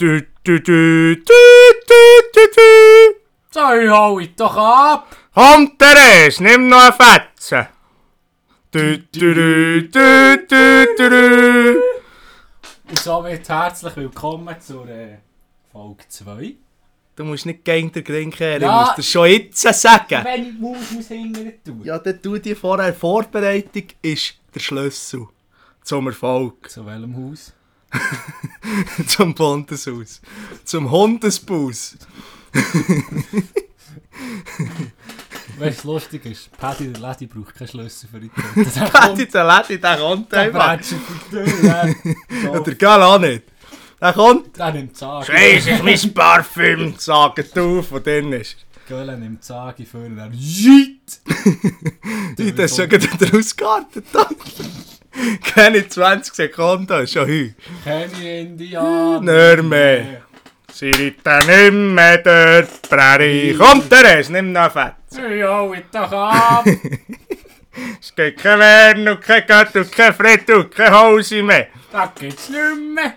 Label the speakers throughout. Speaker 1: Du, du, du, du, du, du, du.
Speaker 2: Sorry, hau ich doch ab!
Speaker 1: Komm, Therese, nimm noch eine Fetze. Du, du, du, du, du, du, du.
Speaker 2: Und somit herzlich willkommen zur äh, Folge 2.
Speaker 1: Du musst nicht gegen den Grin kehren,
Speaker 2: Ja.
Speaker 1: ich muss dir schon jetzt sagen.
Speaker 2: Wenn ich die Maus muss hingern tun.
Speaker 1: Ja, dann tu dir vorher. Vorbereitung ist der Schlüssel zum Erfolg.
Speaker 2: Zu welchem Haus?
Speaker 1: zum Bundeshaus. Zum Hundesbus.
Speaker 2: Weißt du, was lustig ist? Paddy der Lady braucht keinen Schlüssel für die Tür. Das
Speaker 1: Hätte ich den Lädi, der kommt
Speaker 2: der
Speaker 1: einfach.
Speaker 2: Bratsch auf die Tür.
Speaker 1: Oder
Speaker 2: Oder
Speaker 1: gell auch nicht. Der kommt.
Speaker 2: der nimmt Zagi.
Speaker 1: Weiss ich mein Parfüm, sagen du, von denen ist.
Speaker 2: Göller nimmt Zagi für und dann JIT!
Speaker 1: Die das schon wieder rausgeartet. Keine 20 Sekunden, schon heu.
Speaker 2: Keine Indianer.
Speaker 1: Nicht mehr. Sie reiten nicht mehr durch die Prärie. Komm, Therese, nimm noch Fett.
Speaker 2: Sorry, hau ich doch ab!
Speaker 1: Es gibt kein Wern und kein Gott und kein Fried und kein Hause mehr.
Speaker 2: Da geht's nicht mehr.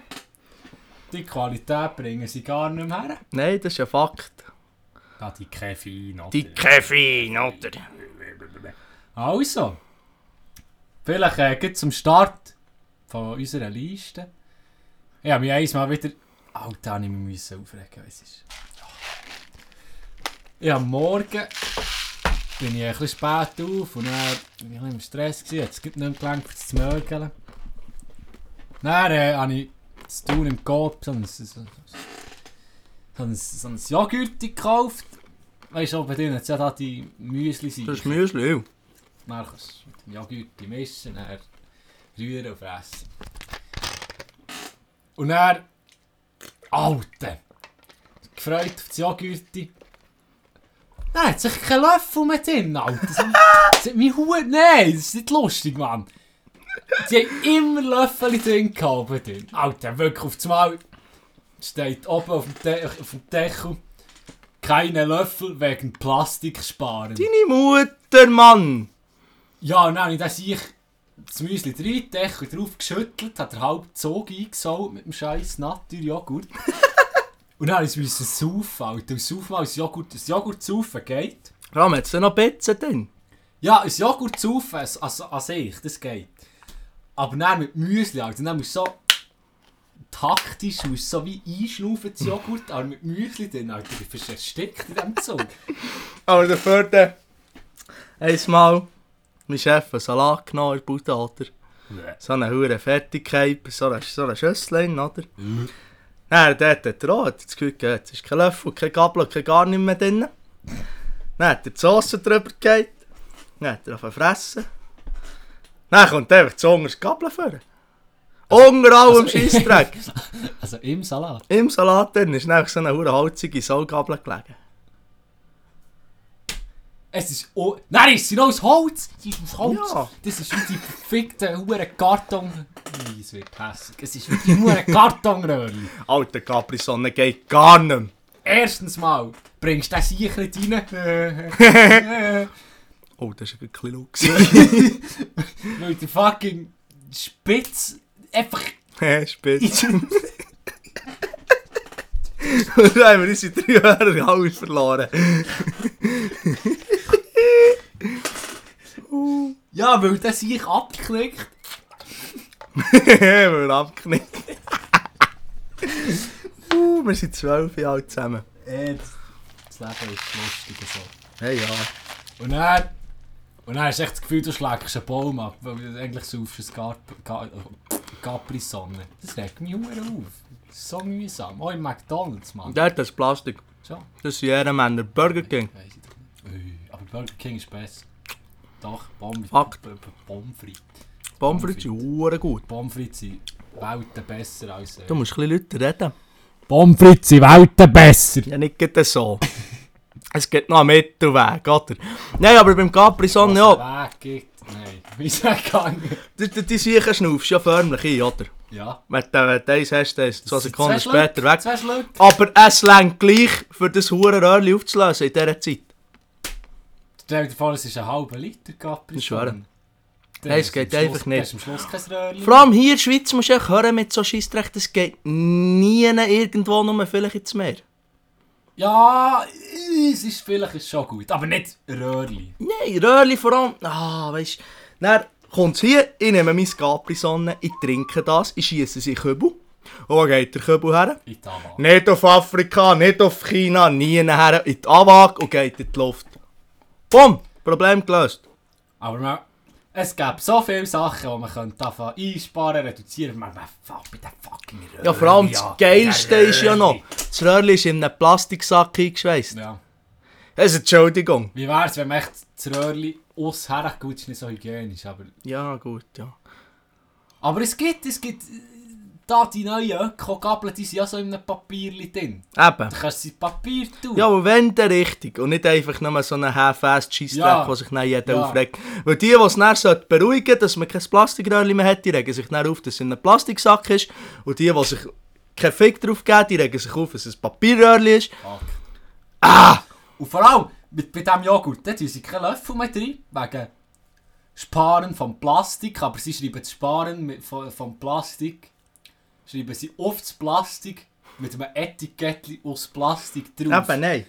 Speaker 2: Die Qualität bringen sie gar nicht mehr her.
Speaker 1: Nein, das ist ein Fakt.
Speaker 2: Da die Käfein, oder?
Speaker 1: Die Kaffein, oder?
Speaker 2: Also, vielleicht äh, gleich zum Start von unserer Liste. Ich habe mich eins mal wieder... Alter, habe ich mich aufregen es ist... Ich habe morgen... Bin ich ein bisschen spät auf und dann war ich ein bisschen im Stress. Gewesen. Jetzt gibt es nicht mehr gelangt, um zu mögeln. Dann äh, habe ich zu tun im Kopf so ein, so, so, so ein, so ein Joghurt gekauft. Weißt du, bei denen hat es ja da die Müsli sind.
Speaker 1: Das ist Müsli.
Speaker 2: Marcus, mit dem Joghurt mischen, dann rühren und fressen. Und dann... Alter! Gefreut auf das Joghurt. Nein, hat sich kein Löffel mehr drin, Alter. Das das hat mein Hut... Nein, das ist nicht lustig, Mann. Sie haben immer Löffel drin gehabt. drin. Alter, wirklich auf das Mal. Steht oben auf dem, De auf dem Deckel. Keine Löffel wegen Plastik sparen.
Speaker 1: Deine Mutter, Mann.
Speaker 2: Ja, und dann habe ich dann sich das Müsli reingedeckt und drauf geschüttelt, hat er halb Zog eingesaut mit dem scheiß Naturjoghurt. und dann musste ich es saufen, Alter. Und saufen, als Joghurt, das Joghurt saufen geht.
Speaker 1: Warum hat es noch Pizza drin?
Speaker 2: Ja, ein Joghurt saufen an, an, an sich, das geht. Aber dann mit Müsli, Alter. Und dann musst du so taktisch, musst du so wie einschnaufen, das Joghurt, aber mit Müsli drin, Alter. Du bist erstickt in diesem Zug.
Speaker 1: Aber der vierte. Einmal, mein Chef, einen Salat genommen in der Bude, oder? So eine hure Fertigkeit, so eine, so eine Schüssel, oder?
Speaker 2: Mhm.
Speaker 1: Dann dort hat er auch hat das Gefühl gehabt, es ist kein Löffel, kein Gabel, kein gar nichts mehr drin. Dann hat er die Soße drüber gegeben. Dann hat er auf fressen. Dann kommt einfach das Hunger das Gabel vor. Unter allem Scheissdreck.
Speaker 2: also im Salat.
Speaker 1: Im Salat drin ist dann so eine hure holzige Saugabel gelegen.
Speaker 2: Es ist. Oh, nein, es ist noch aus Holz! Es ist aus Holz!
Speaker 1: Ja.
Speaker 2: Das ist wie die verfickte hure Karton. Nein, es wird hässlich. Es ist wie die hure Kartonröhrli.
Speaker 1: Alter Capri-Sonne geht gar nicht mehr.
Speaker 2: Erstens mal bringst du den Sicher nicht rein.
Speaker 1: Oh, das ist ein bisschen laut.
Speaker 2: Weil der fucking Spitz einfach.
Speaker 1: Hä, spitz. Und dann haben wir unsere drei Hörer alles verloren.
Speaker 2: Ja, weil der sich abklickt.
Speaker 1: wir haben abgeknickt. uh, wir sind zwölf Jahre alt zusammen.
Speaker 2: Äh, das- Das Leben ist lustig und so.
Speaker 1: Hey ja.
Speaker 2: Und dann, und dann hast du echt das Gefühl, du schlägst einen Baum ab, weil du eigentlich saufst eine äh, Capri-Sonne. Das regt mich verdammt auf. Das ist so mühsam. Auch im McDonalds, Mann.
Speaker 1: Dort ist Plastik.
Speaker 2: Schon.
Speaker 1: Das sind Ehrenmänner. Burger King.
Speaker 2: Weiss ich doch nicht. Ui, Aber Burger King ist besser. Doch, Bombe.
Speaker 1: Fakt.
Speaker 2: äh, Pommes frites.
Speaker 1: Pommes frites sind hure gut.
Speaker 2: Pommes frites sind Welten besser als... Äh,
Speaker 1: Du musst ein bisschen Leute reden.
Speaker 2: Pommes frites sind Welten besser.
Speaker 1: Ja, nicht gerade so. Es gibt noch einen Mittelweg, oder? Nein, aber beim Capri-Sonne ja.
Speaker 2: Weg gibt. Nein. Wie ist das gegangen?
Speaker 1: Die, die, die Siechen schnaufst ja förmlich ein, oder?
Speaker 2: Ja.
Speaker 1: Wenn du wenn du eins hast, dann ist es zwei Sekunden
Speaker 2: Zwei Schluck-
Speaker 1: später weg.
Speaker 2: Zwei Schluck.
Speaker 1: Aber es längt gleich, für das hure Röhrli aufzulösen in dieser Zeit.
Speaker 2: Stell dir vor, es ist ein halber Liter Capri-Sonne.
Speaker 1: Ist wahr. Nein, es geht einfach nicht.
Speaker 2: Hast am Schluss kein Röhrchen.
Speaker 1: Vor allem hier in der Schweiz musst du echt hören mit so Scheissdreck, das geht nie irgendwo, nur vielleicht ins Meer.
Speaker 2: Ja, es ist vielleicht ist schon gut, aber nicht Ah, Röhrli.
Speaker 1: Nein, Röhrli vor allem. Ah, weißt du. Dann kommt es hier, ich nehme mein Capri-Sonne, ich trinke das, ich schiesse sie in den Kübel. Und wo geht der Kübel her?
Speaker 2: In Tabak.
Speaker 1: Nicht auf Afrika, nicht auf China, nie her, in die Awag und geht in die Luft. Bumm, Problem gelöst.
Speaker 2: Aber man, Ah, es gibt so viele Sachen, die man könnte anfangen einsparen, reduzieren, man man fällt bei den fucking Röhrli
Speaker 1: Ja, vor allem das
Speaker 2: an.
Speaker 1: Geilste
Speaker 2: Der
Speaker 1: ist ja noch,
Speaker 2: Röhrli.
Speaker 1: das Röhrli ist in einem Plastiksack eingeschweißt.
Speaker 2: Ja.
Speaker 1: Also, Entschuldigung.
Speaker 2: Wie wär's, wenn man echt das Röhrli ausherrlich gut ist, nicht so hygienisch, aber...
Speaker 1: Ja, gut, ja.
Speaker 2: Aber es gibt, es gibt... äh, Da die neuen Öko-Gabeln, die sind ja so in einem Papierli drin.
Speaker 1: Eben.
Speaker 2: Du kannst sie in Papier tun.
Speaker 1: Ja, aber wenn der richtig und nicht einfach nur so einen half-assed Scheissdreck,
Speaker 2: Ja.
Speaker 1: der sich dann jeder
Speaker 2: Ja.
Speaker 1: aufregt. Weil die, die es dann sollte beruhigen dass man kein Plastikröhrchen mehr hat, die regen sich dann auf, dass es in einem Plastiksack ist. Und die, die sich keinen Fick drauf geben, die regen sich auf, dass es ein Papierröhrchen ist.
Speaker 2: Fuck. Und vor allem mit, bei diesem Joghurt, da tun sie keinen Löffel mehr drin, wegen Sparen von Plastik, aber sie schreiben das Sparen mit, von, von Plastik, schreiben sie auf das Plastik mit einem Etikettchen aus Plastik drauf.
Speaker 1: Eben, nein.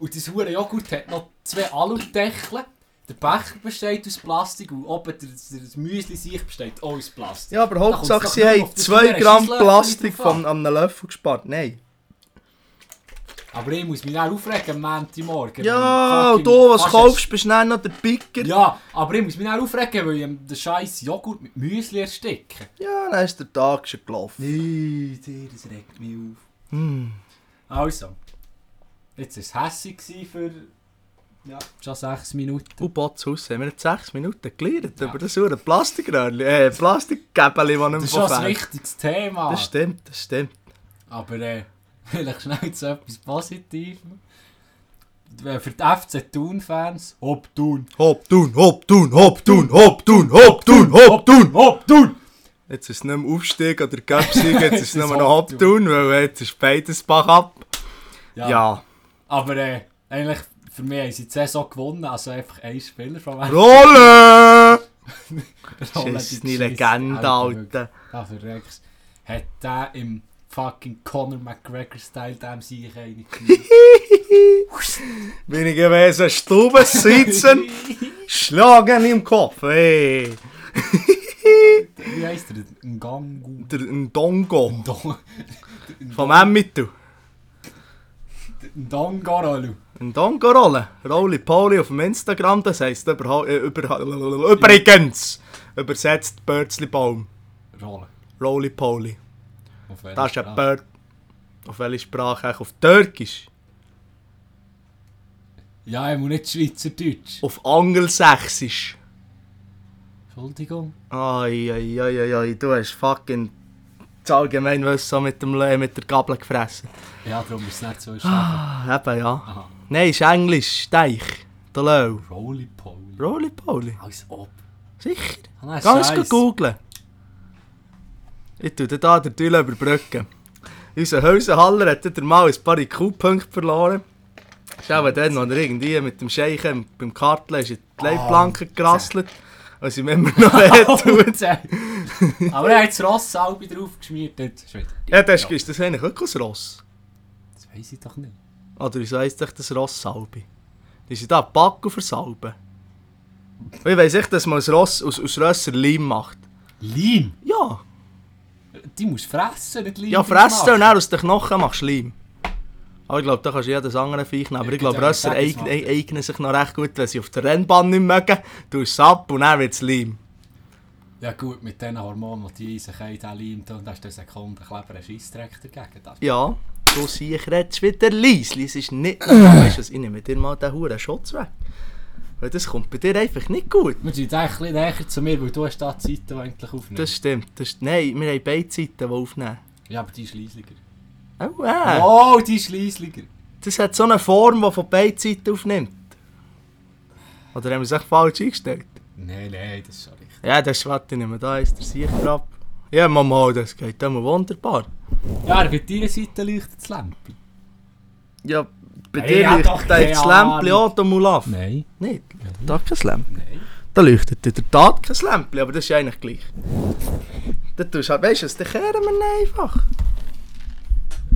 Speaker 2: Und dieses hure Joghurt hat noch zwei Aludeckeln, der Becher besteht aus Plastik und oben der, der, das Müsli-Sicht besteht auch aus Plastik.
Speaker 1: Ja, aber
Speaker 2: Da kommt's
Speaker 1: Hauptsache,
Speaker 2: doch
Speaker 1: sie
Speaker 2: nur
Speaker 1: haben
Speaker 2: auf das
Speaker 1: 2
Speaker 2: hure
Speaker 1: Gramm
Speaker 2: Scheisslevel
Speaker 1: Plastik
Speaker 2: drauf an.
Speaker 1: von einem Löffel gespart. Nein.
Speaker 2: Aber ich muss mich dann aufregen am Montagmorgen.
Speaker 1: Ja,
Speaker 2: Fucking-
Speaker 1: und du, was
Speaker 2: fast
Speaker 1: kaufst, bist dann noch der Picker. Ja,
Speaker 2: Ja, aber ich muss mich auch aufregen, weil ich ihm den scheiß Joghurt mit Müsli ersticke.
Speaker 1: dann ist der Tag schon gelaufen.
Speaker 2: Nee, dir, das regt mich auf.
Speaker 1: Hm.
Speaker 2: Also, jetzt war es hässig gewesen für ja, schon 6 Minuten.
Speaker 1: Und Botshaus haben wir jetzt 6 Minuten gelernt
Speaker 2: Ja.
Speaker 1: über das hure Plastikröhrchen, äh, Plastikgäbeli, das
Speaker 2: Das
Speaker 1: nicht
Speaker 2: ist
Speaker 1: mehr
Speaker 2: schon ein
Speaker 1: fehlt.
Speaker 2: wichtiges Thema.
Speaker 1: Das stimmt, das stimmt.
Speaker 2: Aber äh, vielleicht schnell zu etwas Positivem. Äh, Für die FC Thun-Fans, ob Thun,
Speaker 1: Hopp, tun, hopp, tun, hopp, tun, hopp, tun, hopp, tun, hopp, tun.
Speaker 2: ob Thun!
Speaker 1: Jetzt ist es nicht mehr Aufstieg oder Göpsig, jetzt ist es
Speaker 2: Jetzt
Speaker 1: nur
Speaker 2: ist
Speaker 1: noch
Speaker 2: Hopp
Speaker 1: hopp, tun, weil jetzt ist beides Bach ab.
Speaker 2: Ja,
Speaker 1: Ja.
Speaker 2: aber äh, eigentlich für mich haben sie die Saison gewonnen, also einfach ein Spieler von
Speaker 1: Rolle! Das
Speaker 2: Rolle,
Speaker 1: ist
Speaker 2: die
Speaker 1: eine
Speaker 2: Scheisse,
Speaker 1: Legende,
Speaker 2: wirklich.
Speaker 1: Alter.
Speaker 2: Ah, verreckst. Hat der im fucking Conor McGregor-Style dem Sieg eine gegeben?
Speaker 1: Bin ich gewesen, Stube sitzen, schlagen im Kopf, ey.
Speaker 2: Wie heisst der? Ein Gangu?
Speaker 1: Der Ndongo
Speaker 2: Don-
Speaker 1: vom Emmitu.
Speaker 2: Ein Dongaralu.
Speaker 1: Ndongo Rolle. Rolli Pauli auf dem Instagram, das heisst überhaupt, äh, überha- übrigens, übersetzt Börzlibaum.
Speaker 2: Rolle.
Speaker 1: Rolli Pauli.
Speaker 2: Auf welcher
Speaker 1: Das ist ein
Speaker 2: Sprache?
Speaker 1: Bird. Auf welche Sprache? Eigentlich auf Türkisch?
Speaker 2: Ja, ich muss nicht Schweizerdeutsch.
Speaker 1: Auf Angelsächsisch?
Speaker 2: Entschuldigung.
Speaker 1: Ai, ai, ai, ai, ai, du hast fucking das Allgemeinwissen mit, dem, Le- mit der Gabel gefressen.
Speaker 2: Ja, darum ist es nicht so schwer.
Speaker 1: Ah, Eben, ja.
Speaker 2: Aha.
Speaker 1: Nein, ist Englisch, Steich, der Löw.
Speaker 2: Rolli Poli.
Speaker 1: Rolli Poli,
Speaker 2: Alles ob.
Speaker 1: sicher.
Speaker 2: Ah, nein,
Speaker 1: Ganz
Speaker 2: Scheiss.
Speaker 1: gut googlen. Ich tue dir da den Tüle überbrücken. Unser Häusenhaller hat dann mal ein paar IQ-Punkte verloren. Das ist auch dann, als er irgendwie mit dem Scheichen beim Karteln ist in die Leitplanke gerasselt. Und sie immer noch wehtun.
Speaker 2: Alter. Aber er hat das Ross selber draufgeschmiert. dort. Ist wieder-
Speaker 1: Ja, das ist, ist das eigentlich wirklich ein Ross?
Speaker 2: Das weiss ich doch nicht.
Speaker 1: Oder wieso heisst das das Ross Salbe? Die sind da Packen für Salbe. Und Ich weiss echt, dass man aus, Ross, aus, aus Rösser Leim macht.
Speaker 2: Leim.
Speaker 1: Ja,
Speaker 2: Die musst fressen, nicht Leim.
Speaker 1: ja
Speaker 2: drauf
Speaker 1: fressen
Speaker 2: machen.
Speaker 1: und dann aus den Knochen machst du Leim. Aber ich glaube, da kannst du jedes andere nou, Viech nehmen. Aber
Speaker 2: Ja,
Speaker 1: ich glaube,
Speaker 2: gut,
Speaker 1: Rösser
Speaker 2: wenn ich
Speaker 1: eig
Speaker 2: Fettis
Speaker 1: eig- eignen sich noch recht dus gut, wenn sie auf der Rennbahn nicht mögen. Du es ab und dann wird es Leim.
Speaker 2: Ja gut, mit diesen Hormonen, die die in sich haben, den Leim, dann hast du Sekunden Kleber einen Scheissdreck dagegen. Das
Speaker 1: Ja, du siehst, ich redest wieder leise. Es ist nicht... weißt du was, ich nehme dir mal den Huren Schutz weg. Weil das kommt bei dir einfach nicht gut.
Speaker 2: Wir sind eigentlich ein bisschen näher zu mir, weil du hast da die Seite, die eigentlich aufnimmt.
Speaker 1: Das stimmt. Das ist, nein, wir haben beide Seiten, die aufnehmen.
Speaker 2: Ja, aber die ist leisliger.
Speaker 1: Oh, äh.
Speaker 2: Oh, die ist leisliger.
Speaker 1: Das hat so eine Form, die von beiden Seiten aufnimmt. Oder haben wir es echt falsch eingestellt?
Speaker 2: Nein, nein, das ist schon richtig.
Speaker 1: Ja, das ist was, ich nehme da ist der Sichtrab. Ja, Mama, das geht immer wunderbar.
Speaker 2: Ja, aber bei deiner Seite leuchtet das Lämpchen.
Speaker 1: Ja, bei
Speaker 2: Hey,
Speaker 1: dir
Speaker 2: ja,
Speaker 1: liegt
Speaker 2: doch,
Speaker 1: da
Speaker 2: keine
Speaker 1: das Lämpchen
Speaker 2: Ahnung.
Speaker 1: auch, der Mulaf.
Speaker 2: Nein.
Speaker 1: Nein, da ist kein Lämpchen.
Speaker 2: Nein.
Speaker 1: Da leuchtet in der Tat kein Lämpchen, aber das ist ja eigentlich gleich. Dann tust du halt, weißt du, was, dann kehren wir ihn einfach.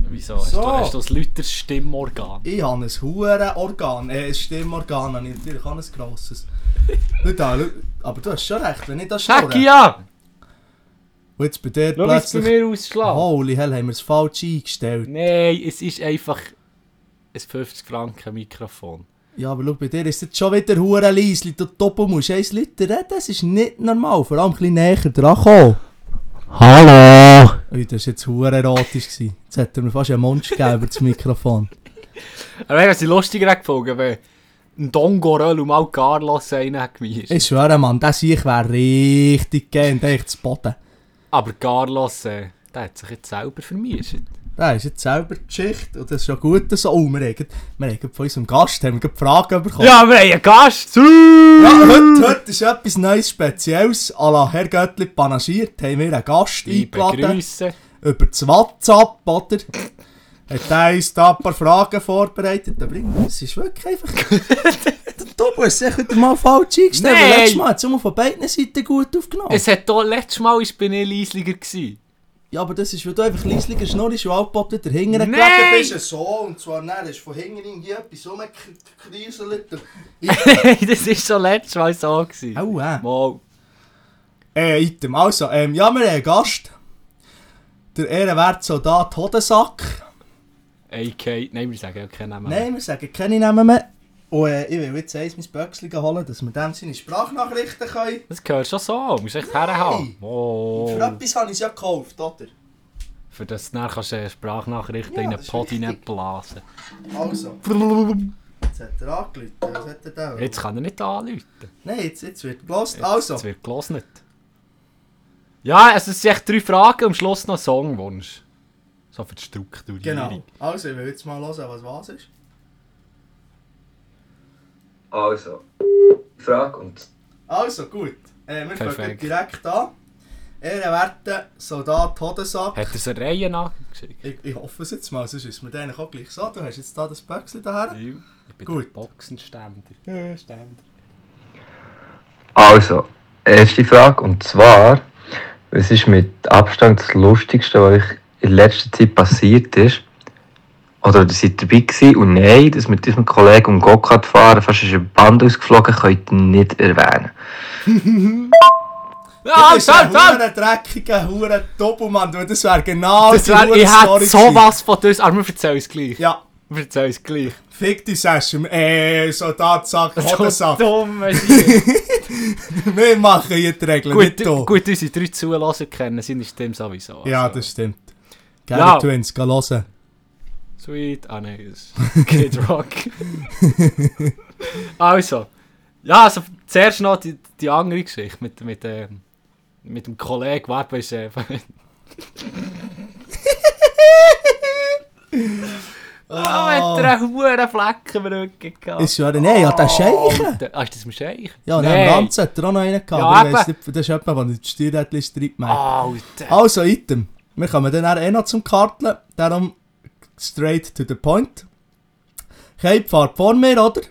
Speaker 2: Wieso? Hast,
Speaker 1: So.
Speaker 2: du, hast du ein lauteres Stimmorgan?
Speaker 1: Ich habe ein Hurenorgan, äh, ein Stimmorgan, habe ich natürlich auch ein grosses. Schau da, schau. aber du hast schon recht, wenn ich das
Speaker 2: Sag
Speaker 1: störe.
Speaker 2: ja!
Speaker 1: Und jetzt bei dir
Speaker 2: Schau, wie es bei
Speaker 1: plötzlich...
Speaker 2: mir ausschlägt.
Speaker 1: Holy hell, haben wir es falsch eingestellt.
Speaker 2: Nein, es ist einfach ein 50 Franken Mikrofon.
Speaker 1: Ja, aber schau, bei dir ist jetzt schon wieder hure leise, du Topo musst 1 Liter reden, das ist nicht normal, vor allem ein bisschen näher dran kommen.
Speaker 2: Hallo!
Speaker 1: Ui, das war jetzt hure erotisch. gewesen. Jetzt hätte mir fast einen Mund gegeben über das Mikrofon.
Speaker 2: Aber wäre es lustiger gefunden, wenn ein Dongorel und mal Carlos einen hat gemischt.
Speaker 1: Ich schwöre, Mann, das ich wäre richtig gern, echt zu Boden.
Speaker 2: Aber Carlos, äh, der hat sich jetzt selber vermischt.
Speaker 1: Das ist jetzt selber die Geschichte und das ist schon gut so. Oh, wir haben, grad- wir haben grad von unserem Gast haben wir grad Fragen bekommen.
Speaker 2: Ja, wir haben einen Gast!
Speaker 1: Ja, heute, heute ist etwas Neues, Spezielles. À la Herr Göttli panaschiert haben wir einen Gast
Speaker 2: Liebe
Speaker 1: eingeladen.
Speaker 2: Grüße.
Speaker 1: über das WhatsApp, oder? Hat er uns da ein paar Fragen vorbereitet. Aber es ist wirklich einfach... du musst dich wieder mal falsch eingestellt.
Speaker 2: Nein!
Speaker 1: Nee. Letztes Mal hat es immer von beiden Seiten gut aufgenommen.
Speaker 2: Es hat doch letztes Mal ist bei mir leisliger gewesen.
Speaker 1: Ja, aber das ist, weil du einfach leisliger schnurrst und altpoppt und dahinter
Speaker 2: Nein!
Speaker 1: gelegen bist. So, und zwar dann ist von hinten irgendwie etwas rumgekriselt.
Speaker 2: das ist schon letztes Mal so gewesen.
Speaker 1: Au, äh.
Speaker 2: Mal.
Speaker 1: Äh, Item. Also, ähm, ja, wir haben einen Gast. Der ehrenwerte Soldat Hodensack.
Speaker 2: AK, nein, wir sagen ja keinen Namen.
Speaker 1: Nein, wir sagen keine Namen mehr. Und äh, ich will jetzt eins mein Böckchen holen, dass wir dem seine Sprachnachrichten können.
Speaker 2: Das gehört schon so, musst echt herhaben.
Speaker 1: Für
Speaker 2: Oh.
Speaker 1: etwas habe ich es ja gekauft, oder?
Speaker 2: Für das du dann kannst du äh, Sprachnachrichten
Speaker 1: Ja,
Speaker 2: in einen
Speaker 1: das ist
Speaker 2: Pod
Speaker 1: richtig.
Speaker 2: hineinblasen.
Speaker 1: Also, jetzt hat er angeläutet. Was hat er da?
Speaker 2: Jetzt kann er nicht anrufen.
Speaker 1: Nein, jetzt, jetzt wird gelost. Also,
Speaker 2: Es wird gelesen. Ja, also es sind echt drei Fragen, am Schluss noch einen Songwunsch. So für die Strukturierung.
Speaker 1: genau. Also, ich will jetzt mal hören, was was ist.
Speaker 3: Also, die Frage und
Speaker 1: Also, gut. Äh, wir fangen
Speaker 2: Perfekt.
Speaker 1: direkt an. Ehrenwerte Soldat Hodensack.
Speaker 2: Hat er so Reihen angeschickt?
Speaker 1: Ich, ich hoffe es jetzt mal, sonst ist mir der eigentlich auch gleich so. Du hast jetzt da das Böckchen daher.
Speaker 2: Ich bin
Speaker 1: Gut.
Speaker 2: der Boxenständer. Ständer.
Speaker 3: Also, erste Frage und zwar, was ist mit Abstand das Lustigste, was euch in letzter Zeit passiert ist? Oder ihr seid dabei gewesen und nein, dass mit diesem Kollegen um Gokart fahren, fast ist eine Band ausgeflogen, könnt ihr nicht erwähnen.
Speaker 2: Ja,
Speaker 1: das
Speaker 2: halt,
Speaker 1: ist ein
Speaker 2: halt, halt!
Speaker 1: hure dreckiger, hure Doppelmann, du, das wäre genau
Speaker 2: Das
Speaker 1: die
Speaker 2: wär,
Speaker 1: hure
Speaker 2: ich hätte
Speaker 1: Story gewesen.
Speaker 2: sowas von das, aber wir erzählen es gleich.
Speaker 1: Ja,
Speaker 2: Wir erzählen es gleich.
Speaker 1: fick die Session, äh, Soldat sagt
Speaker 2: So
Speaker 1: Hodensack.
Speaker 2: dumm. Gut,
Speaker 1: Wir machen hier die Regeln, nicht du.
Speaker 2: gut, unsere drei Zulasser kennen sind in dem sowieso.
Speaker 1: Ja,
Speaker 2: Also,
Speaker 1: das stimmt. Gerne
Speaker 2: Ja.
Speaker 1: Twins, geh hören.
Speaker 2: Sweet, ah nein, das ist Kid Rock. also, ja, also zuerst noch die, die andere Geschichte mit, mit, ähm, mit dem Kollegen, warte, weißt du, äh, Ah, mit einer hohen Fleck im Rücken gehabt.
Speaker 1: Ist ja, nein, ja,
Speaker 2: Oh.
Speaker 1: der Scheiche.
Speaker 2: Der- Ah, ist das mit Scheich?
Speaker 1: Ja, und
Speaker 2: nein.
Speaker 1: am Lanz hat er auch noch einen gehabt,
Speaker 2: Ja,
Speaker 1: aber ich weiss
Speaker 2: eben.
Speaker 1: nicht, das ist jemand, der nicht die Steuerrätliste treibt, meint.
Speaker 2: Alter.
Speaker 1: Also, Item. Wir kommen dann nachher eh noch zum Karteln. Darum straight to the point. Keib fährt vor mir, oder?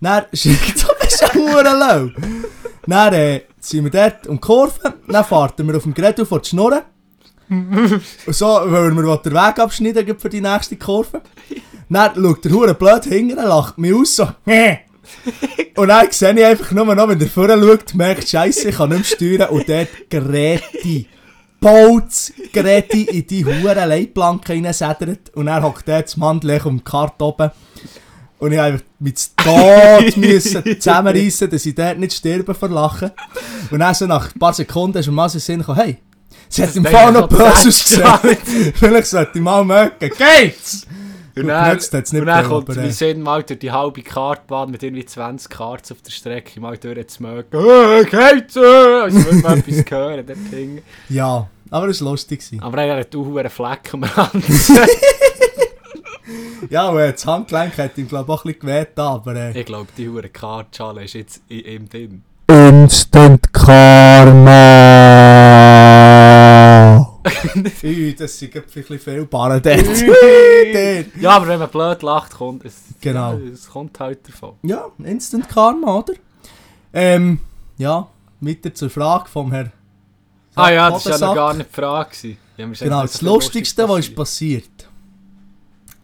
Speaker 1: Dann schickt so ein Hurenlau. Dann äh, sind wir dort um die Kurve. Dann fahren wir auf dem Gerät vor die Schnurren. Und so wollen wir den Weg abschneiden gleich für die nächste Kurve. Dann schaut der Huren blöd hinten, lacht mich aus so. Und dann sehe ich einfach nur noch, wenn er vorne schaut, merkt, Scheiße, ich kann nicht mehr steuern. Und dort Greti. Bolz Greti in die hure Leitplanke hineinsedert. Und er Oh, hockt dort das Mandel um die Karte oben. Und ich einfach mit dem Tod müssen zusammenreissen, dass ich dort nicht sterben vor Lachen. Oh, Und dann so nach ein paar Sekunden ist mir mal so in den Sinn gekommen, hey, sie hat im
Speaker 2: denke
Speaker 1: Fall
Speaker 2: ich
Speaker 1: noch
Speaker 2: schon
Speaker 1: böse ausgesehen.
Speaker 2: zusammen.
Speaker 1: Vielleicht sollte ich mal mögen. Geht's?
Speaker 2: Und
Speaker 1: Gut,
Speaker 2: dann,
Speaker 1: jetzt hat's nicht
Speaker 2: und dann
Speaker 1: gegeben,
Speaker 2: kommt
Speaker 1: aber,
Speaker 2: wir
Speaker 1: äh.
Speaker 2: sind mal durch die halbe Kartbahn mit irgendwie 20 Karts auf der Strecke mal durch zu mögen. Äh, geht's? Äh? Also würde man etwas hören, der Ping.
Speaker 1: Ja, aber es war lustig. gewesen.
Speaker 2: Aber er hat auch hohe Fleck am Rand.
Speaker 1: Ja, und äh, das Handgelenk hat ihm, glaube ich, auch ein bisschen geweht, aber... Äh,
Speaker 2: ich glaube, die hohe Kartschale ist jetzt in ihm drin.
Speaker 1: Instant Karma. Ui, das sind gerade vielleicht viel Barren dort. Ui, dort.
Speaker 2: Ja, aber wenn man blöd lacht, kommt es,
Speaker 1: Genau.
Speaker 2: es kommt halt davon.
Speaker 1: ja, Instant Karma, oder? Ähm, ja, weiter zur Frage vom Herrn.
Speaker 2: Ah ja, das war ja noch
Speaker 1: Hodensack.
Speaker 2: gar nicht die Frage. gewesen. Die haben mir
Speaker 1: Genau,
Speaker 2: gesagt,
Speaker 1: das
Speaker 2: so viel Lustiges
Speaker 1: Lustigste, was ist
Speaker 2: passiert.
Speaker 1: passiert.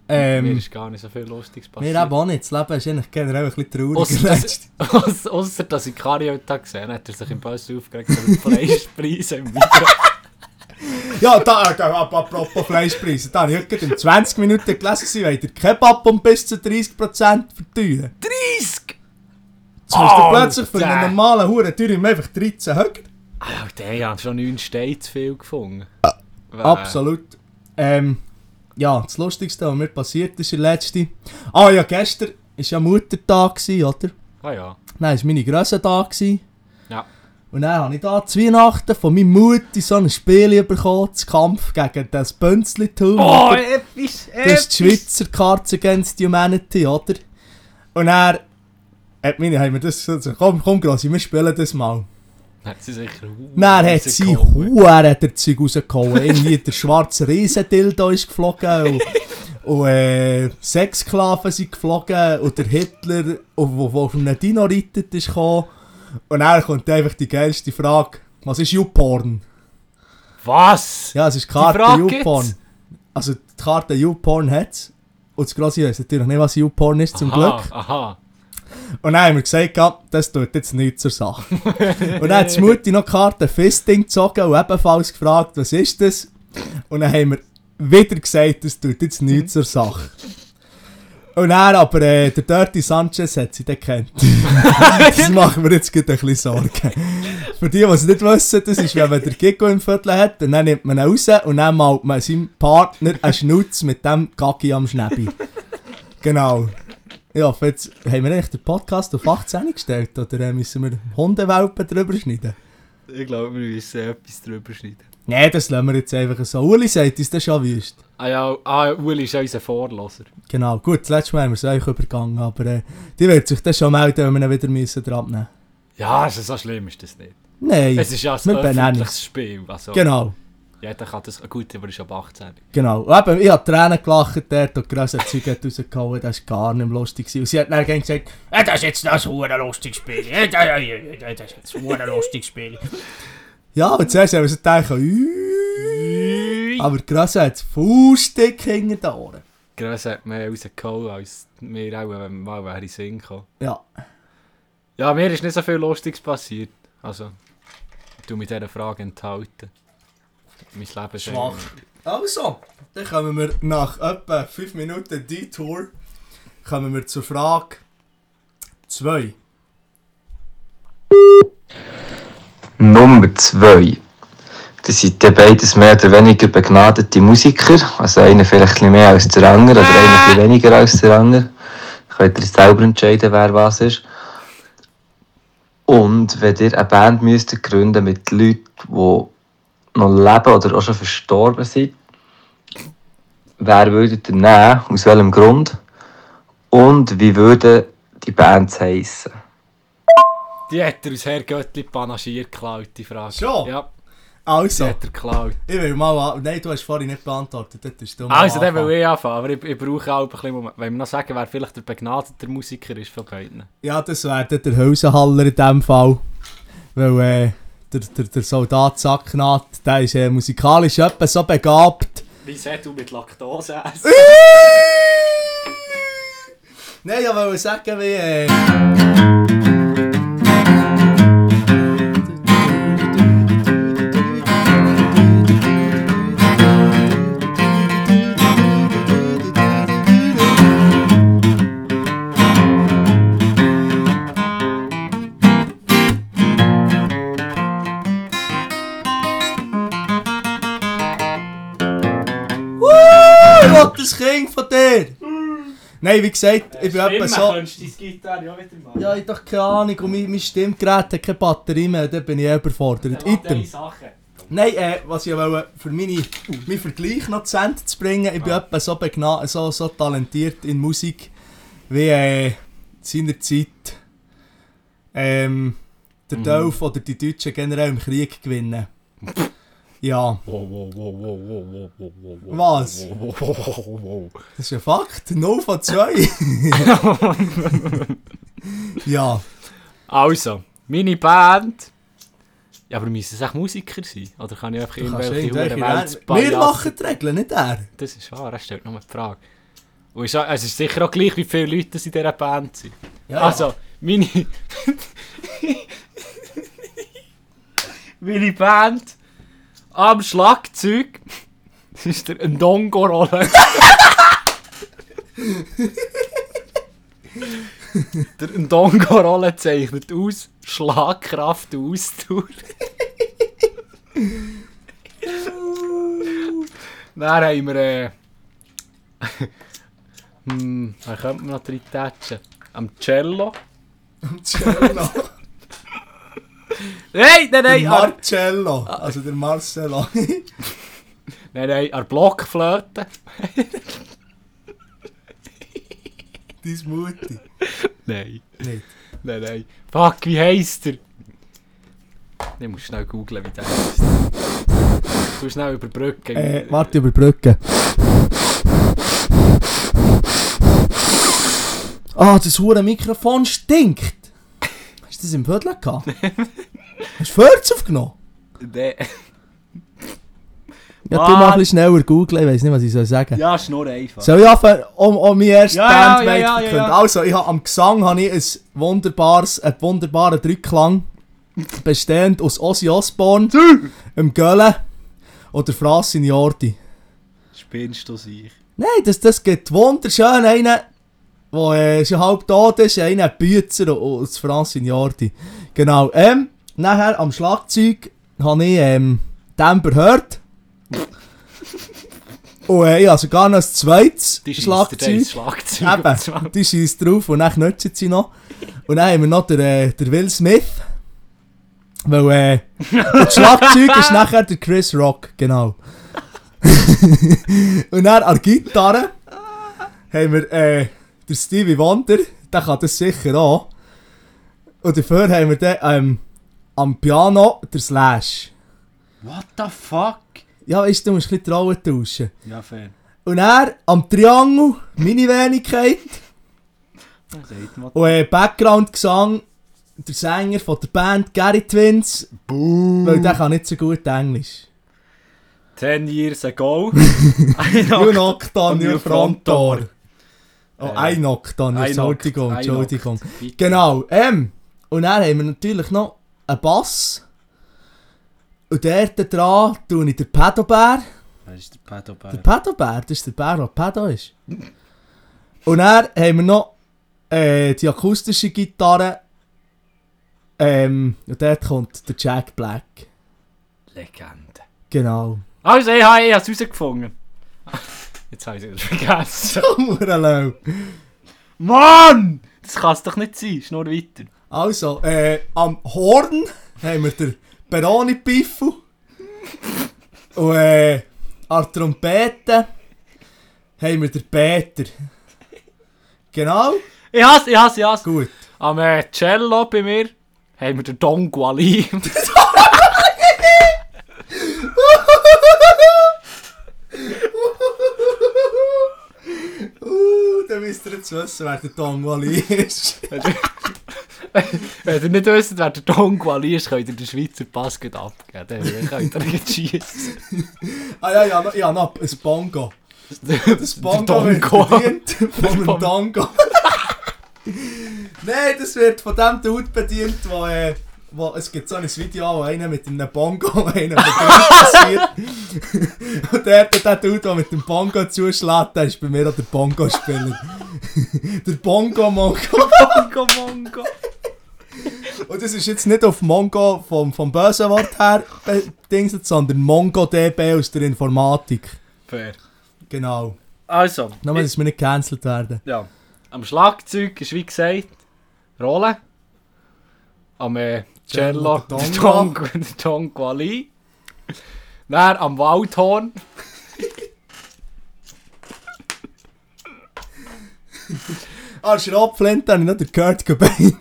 Speaker 2: Mir
Speaker 1: Ähm,
Speaker 2: ist gar nicht so viel Lustiges
Speaker 1: mir
Speaker 2: passiert.
Speaker 1: eben auch nicht. Das Leben ist eigentlich generell ein bisschen traurig.
Speaker 2: Ausser
Speaker 1: letztens.
Speaker 2: dass, ausser, ausser, dass ich Kari heute Tag gesehen habe, hat er sich im Bus aufgeregt über die Fleischpreise im Mikro.
Speaker 1: Ja, da, äh, da, ap- apropos Fleischpreise, da habe ich heute gerade in 20 Minuten gelesen, sie wollen den Kebab um bis zu 30% verteuern.
Speaker 2: 30!
Speaker 1: Jetzt musst du
Speaker 2: Alter.
Speaker 1: plötzlich für einen normalen Huren teuer einfach 13 Höcker.
Speaker 2: Alter, ich habe schon 9 Steine zu viel gefunden. Wäh.
Speaker 1: Ah, Absolut. Ähm, ja, das Lustigste, was mir passiert ist, der letzte. Ah ja, gestern war ja Muttertag, gewesen, oder?
Speaker 2: Ah ja.
Speaker 1: Nein, es war meine Grösse Tag. gewesen.
Speaker 2: Ja.
Speaker 1: Und dann habe ich da zu Weihnachten von meiner Mutter so ein Spiel bekommen, zum Kampf gegen das Bünzli-Turm. oder?
Speaker 2: Oh, episch, episch!
Speaker 1: Das ist die Schweizer Cards Against Humanity, oder? Und er hat meine, haben wir das gesagt, komm, komm Grossi, wir spielen das mal.
Speaker 2: Hat sie sicher Huren
Speaker 1: Dann hat sie
Speaker 2: rausgehauen.
Speaker 1: Huren der Zeug rausgehauen. Irgendwie der schwarze Riesendildo ist geflogen und, und äh, Sexsklaven sind geflogen und der Hitler, der auf einem Dino reitet, ist gekommen. Und dann kommt einfach die geilste Frage, was ist YouPorn?
Speaker 2: Was?
Speaker 1: Ja, es ist Karte
Speaker 2: Frage
Speaker 1: YouPorn.
Speaker 2: gibt's?
Speaker 1: Also die Karte YouPorn hat es. Und das Grosse weiss natürlich nicht, was YouPorn ist, zum
Speaker 2: aha,
Speaker 1: Glück.
Speaker 2: Aha.
Speaker 1: Und dann haben wir gesagt, ja, das tut jetzt nichts zur Sache. und dann hat die Mutti noch die Karte Fisting gezogen und ebenfalls gefragt, was ist das? Und dann haben wir wieder gesagt, das tut jetzt nichts zur Sache. Und dann aber äh, der Dirty Sanchez hat sie dann gekannt. das macht mir jetzt gerade ein bisschen Sorgen. Für die, die es nicht wissen, das ist, wenn man den Giggo im Viertel hat, und dann nimmt man ihn raus und dann malt man seinem Partner einen Schnutz mit dem Gaggi am Schnäbi. Genau. Ja, hoffe, jetzt haben wir eigentlich den Podcast auf 18 gestellt, oder äh, müssen wir Hundewelpen drüber schneiden?
Speaker 2: Ich glaube, wir müssen etwas drüber schneiden.
Speaker 1: Nein, das lassen wir jetzt einfach so. Uli sagt uns das schon wüst.
Speaker 2: Ah ja, ah, Uli ist unser Vorloser.
Speaker 1: Genau, gut, das letzte Mal haben wir es euch übergangen, aber äh, die wird sich das schon melden, wenn wir ihn wieder müssen dran nehmen.
Speaker 2: Ja, ist so schlimm ist das nicht.
Speaker 1: Nein,
Speaker 2: Es ist ja ein
Speaker 1: wir benennen es.
Speaker 2: öffentliches Spiel. Also,
Speaker 1: Genau,
Speaker 2: Jeder kann das... Gut, aber ist ab 18.
Speaker 1: genau. Und eben, ich habe Tränen gelacht dort und grösser Zeug hat rausgehauen, das war gar nicht mehr lustig. gewesen. Und sie hat dann gleich gesagt,
Speaker 4: Ja, das ist jetzt das hure lustige Spiel. Ja, das ja, ja, das ist jetzt hure lustiges Spiel.
Speaker 1: ja, und zuerst haben wir so gedacht, «Ui». aber grösser hat das Faustdick hinter den Ohren.
Speaker 2: Gröss hat mehr rausgehauen als wir auch, wenn wir mal wäre Sinn gekommen.
Speaker 1: Ja.
Speaker 2: Ja, mir ist nicht so viel Lustiges passiert. Also, ich tu mit dieser Frage enthalten. Mein Leben ist
Speaker 1: Schwach.
Speaker 2: eigentlich-
Speaker 1: Also, dann kommen wir nach etwa 5 Minuten Detour kommen wir zur Frage 2.
Speaker 3: Nummer 2. Das sind dann beides mehr oder weniger begnadete Musiker. Also einer vielleicht ein bisschen mehr als der andere oder einer ein bisschen weniger als der andere. Könnt ihr selber entscheiden, wer was ist. Und wenn ihr eine Band müsstet gründen mit Leuten, die noch leben oder auch schon verstorben sind, wer würdet ihr nehmen? Aus welchem Grund? Und wie würde die Band heissen?
Speaker 2: Die hat er aus Herr Göttli panaschiert geklaut, die Frage.
Speaker 1: Schon?
Speaker 2: Ja, die
Speaker 1: Also,
Speaker 2: hat er geklaut.
Speaker 1: ich will mal an. Nein, du hast vorhin nicht beantwortet. Das ist dumm.
Speaker 2: Also, dann will ich anfangen, aber ich, ich brauche auch ein bisschen Moment. Wenn wir noch sagen, wer vielleicht der begnadete Musiker ist von beiden.
Speaker 1: Ja, das wäre dann der Hülsenhaller in dem Fall. Weil äh, der, der, der Soldat Sacknaht, der ist äh, musikalisch etwa so begabt.
Speaker 2: Wie sagst du mit Laktose essen?
Speaker 1: Nein, ich wollte sagen, wie. Äh... Woo, Gott, das Kind von dir! Nein, wie gesagt, ich bin etwa so.
Speaker 2: könntest du deine Gitarre auch wieder machen.
Speaker 1: Ja, ich hab doch keine Ahnung, und mein, mein Stimmgerät hat keine Batterie mehr, da bin ich eh überfordert. Item.
Speaker 2: Sache.
Speaker 1: Nein, äh, was ich wollte, für meine, meinen Vergleich noch zu Ende zu bringen, ich bin etwa so, begna- so, so talentiert in Musik, wie äh, seinerzeit ähm, der Dolph oder die Deutschen generell im Krieg gewinnen. ja,
Speaker 2: Wow, wow, wow, wow, wow, wow, wow, wow, wow.
Speaker 1: was?
Speaker 2: Wow, wow, wow, wow, wow.
Speaker 1: Das ist ein Fakt, 0 von 2. ja,
Speaker 2: Also, meine Band. Ja, aber müssen es echt Musiker sein? Oder kann ich einfach
Speaker 1: Du kannst
Speaker 2: irgendwelche
Speaker 1: irgendwelche
Speaker 2: Huren Welt
Speaker 1: Regeln- Wir machen die Regeln, nicht er.
Speaker 2: Das ist wahr, er stellt nur die Frage. Und ist, auch- es ist sicher auch gleich, wie viele Leute das in dieser Band sind. also, meine... meine Band am Schlagzeug das ist der Ndongo Rolle. der Ndongo Rolle zeichnet aus Schlagkraft und Ausdauer. Dann haben wir. Äh, eh, hm, da könnte man noch drin tätschen. Am Cello.
Speaker 1: Cello.
Speaker 2: Nein, nein,
Speaker 1: Der
Speaker 2: nein! Ar,
Speaker 1: Marcello. Also der Marcello.
Speaker 2: nein, nein, an der Blockflöte.
Speaker 1: Deine Mutti.
Speaker 2: Nein,
Speaker 1: Nicht.
Speaker 2: nein, nein. Fuck, wie heisst er? Ich muss schnell googlen, wie der heisst. Du schnell überbrücken.
Speaker 1: Äh, warte, überbrücken. Ah, das hure Mikrofon stinkt. Hast du das im Viertel gehabt? Hast du Fürz aufgenommen?
Speaker 2: Nee.
Speaker 1: Ja, du mach ein bisschen schneller googeln, ich weiß nicht, was ich soll sagen.
Speaker 2: Ja, schnur einfach.
Speaker 1: Soll ich anfangen, um, um meine erste
Speaker 2: Ja, ja,
Speaker 1: Band
Speaker 2: ja, ja,
Speaker 1: mitzukünden?
Speaker 2: ja, ja.
Speaker 1: Also, ich hab, am Gesang habe ich ein wunderbares, einen wunderbaren Dreiklang, bestehend aus Ozzy Osbourne, dem Gölle und der Frasin Jordi.
Speaker 2: Spinnst du sich?
Speaker 1: Nein, das, das gibt wunderschön einen, der äh, schon halb tot ist, einen Bützer aus Frasin Jordi. Genau. Ähm, nachher am Schlagzeug habe ich ähm, Denver Hurt. Und äh, ich habe sogar noch ein zweites
Speaker 2: Die
Speaker 1: Schlagzeug.
Speaker 2: Schlagzeug. auf
Speaker 1: Eben,
Speaker 2: zwei.
Speaker 1: die schießt drauf und dann knutschen sie noch. Und dann haben wir noch den, äh, der Will Smith. Weil, äh, das Schlagzeug ist nachher der Chris Rock, genau. und dann an der Gitarre haben wir äh, den Stevie Wonder, dus der kann das sicher auch. Und dafür haben wir den, ähm, am Piano der Slash.
Speaker 2: What the fuck?
Speaker 1: Ja, nou weißt du, du musst ein bisschen Trauen tauschen.
Speaker 2: Ja, fair.
Speaker 1: Und er am Triangle, meine Wenigkeit.
Speaker 2: Seht mal.
Speaker 1: Und äh, Background-Gesang, der Sänger von der Band Gary Twins. Weil der kann nicht so gut Englisch.
Speaker 2: 10 years ago.
Speaker 1: Nur knocked on
Speaker 2: your
Speaker 1: your front door. Oh,
Speaker 2: Äh,
Speaker 1: ein knocked on your,
Speaker 2: ein knocked,
Speaker 1: Entschuldigung,
Speaker 2: ein
Speaker 1: Entschuldigung.
Speaker 2: knocked. Bitte.
Speaker 1: Genau, ähm. Und dann haben wir natürlich noch einen Bass. Und dort dran tue ich den Pedobär.
Speaker 2: Wer ist der Pedobär?
Speaker 1: Der Pedobär, das ist der Bär, der Pedo ist. Und dann haben wir noch äh, die akustische Gitarre. Ähm, und dort kommt der Jack Black.
Speaker 2: Legende.
Speaker 1: Genau.
Speaker 2: Also, ich habe es rausgefunden. Jetzt habe ich es wieder vergessen.
Speaker 1: Hurenlau.
Speaker 2: Mann! Das kann es doch nicht sein. Schnur weiter.
Speaker 1: also, äh, am Horn haben wir den Peroni Piffel. und äh, an der Trompete haben wir den Peter. Genau,
Speaker 2: Ich hasse, ich hasse, ich hasse.
Speaker 1: gut.
Speaker 2: Am äh, Cello bei mir haben wir den Don Guali.
Speaker 1: Uh, dann müsst ihr jetzt wissen, wer der Tom Wally ist.
Speaker 2: Wenn ihr nicht wisst, wer der Don Guali ist, könnt ihr den Schweizer Pass gleich abgeben. Dann könnt ihr nicht schiessen.
Speaker 1: ah ja, ja, ja, noch ein Bongo. Das Bongo
Speaker 2: Der
Speaker 1: wird
Speaker 2: Dongo.
Speaker 1: bedient von einem
Speaker 2: Bong-
Speaker 1: Tango. Nein, das wird von dem Dude bedient, wo, äh, wo es gibt so ein Video, wo einer mit einem Bongo einen passiert. Und der, der Dude, der mit dem Bongo zuschlägt, der ist bei mir auch der Bongo-Spieler. der Bongo-Mongo.
Speaker 2: Mongo, Mongo.
Speaker 1: Und das ist jetzt nicht auf Mongo vom, vom bösen Wort her bedingt, sondern MongoDB aus der Informatik.
Speaker 2: Fair.
Speaker 1: Genau.
Speaker 2: Also.
Speaker 1: Nur, dass wir nicht gecancelt werden.
Speaker 2: Ja. Am Schlagzeug ist wie gesagt Rolle. Am äh,
Speaker 1: Cello,
Speaker 2: Cello der
Speaker 1: Tonga.
Speaker 2: Tong- der Tonguali. Dann am Waldhorn.
Speaker 1: Ah, Schraubflinte habe ich noch den Kurt Cobain.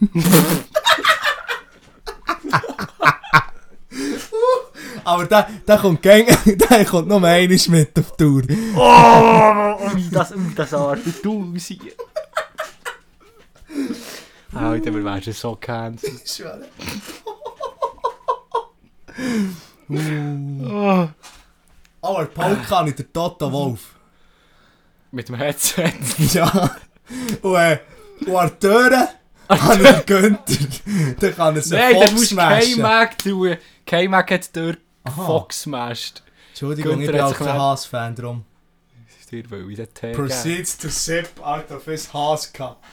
Speaker 1: Aber der, der kommt gäng, der kommt noch einmal mit auf die Tour.
Speaker 2: Oh, ui, das, ui, das arme Tausend. Alter, wir wären so gecancelt.
Speaker 1: Ich schwöre. Aber Paul kann ich, der Toto Wolf.
Speaker 2: Mit dem Headset.
Speaker 1: Ja. Und, äh, und an die Türen habe ich den Günther. Dann kann er sich
Speaker 2: Nein,
Speaker 1: Fox
Speaker 2: dann musst du
Speaker 1: smashen.
Speaker 2: K-Mac tun. K-Mac hat durch
Speaker 1: Aha.
Speaker 2: Fox smashed.
Speaker 1: Entschuldigung, ich
Speaker 2: Günther
Speaker 1: bin
Speaker 2: hat
Speaker 1: auch
Speaker 2: sich
Speaker 1: kein
Speaker 2: gemerkt.
Speaker 1: Haas-Fan drum.
Speaker 2: Dir will ich den Tee geben.
Speaker 1: Proceeds to sip out of his Haas cup.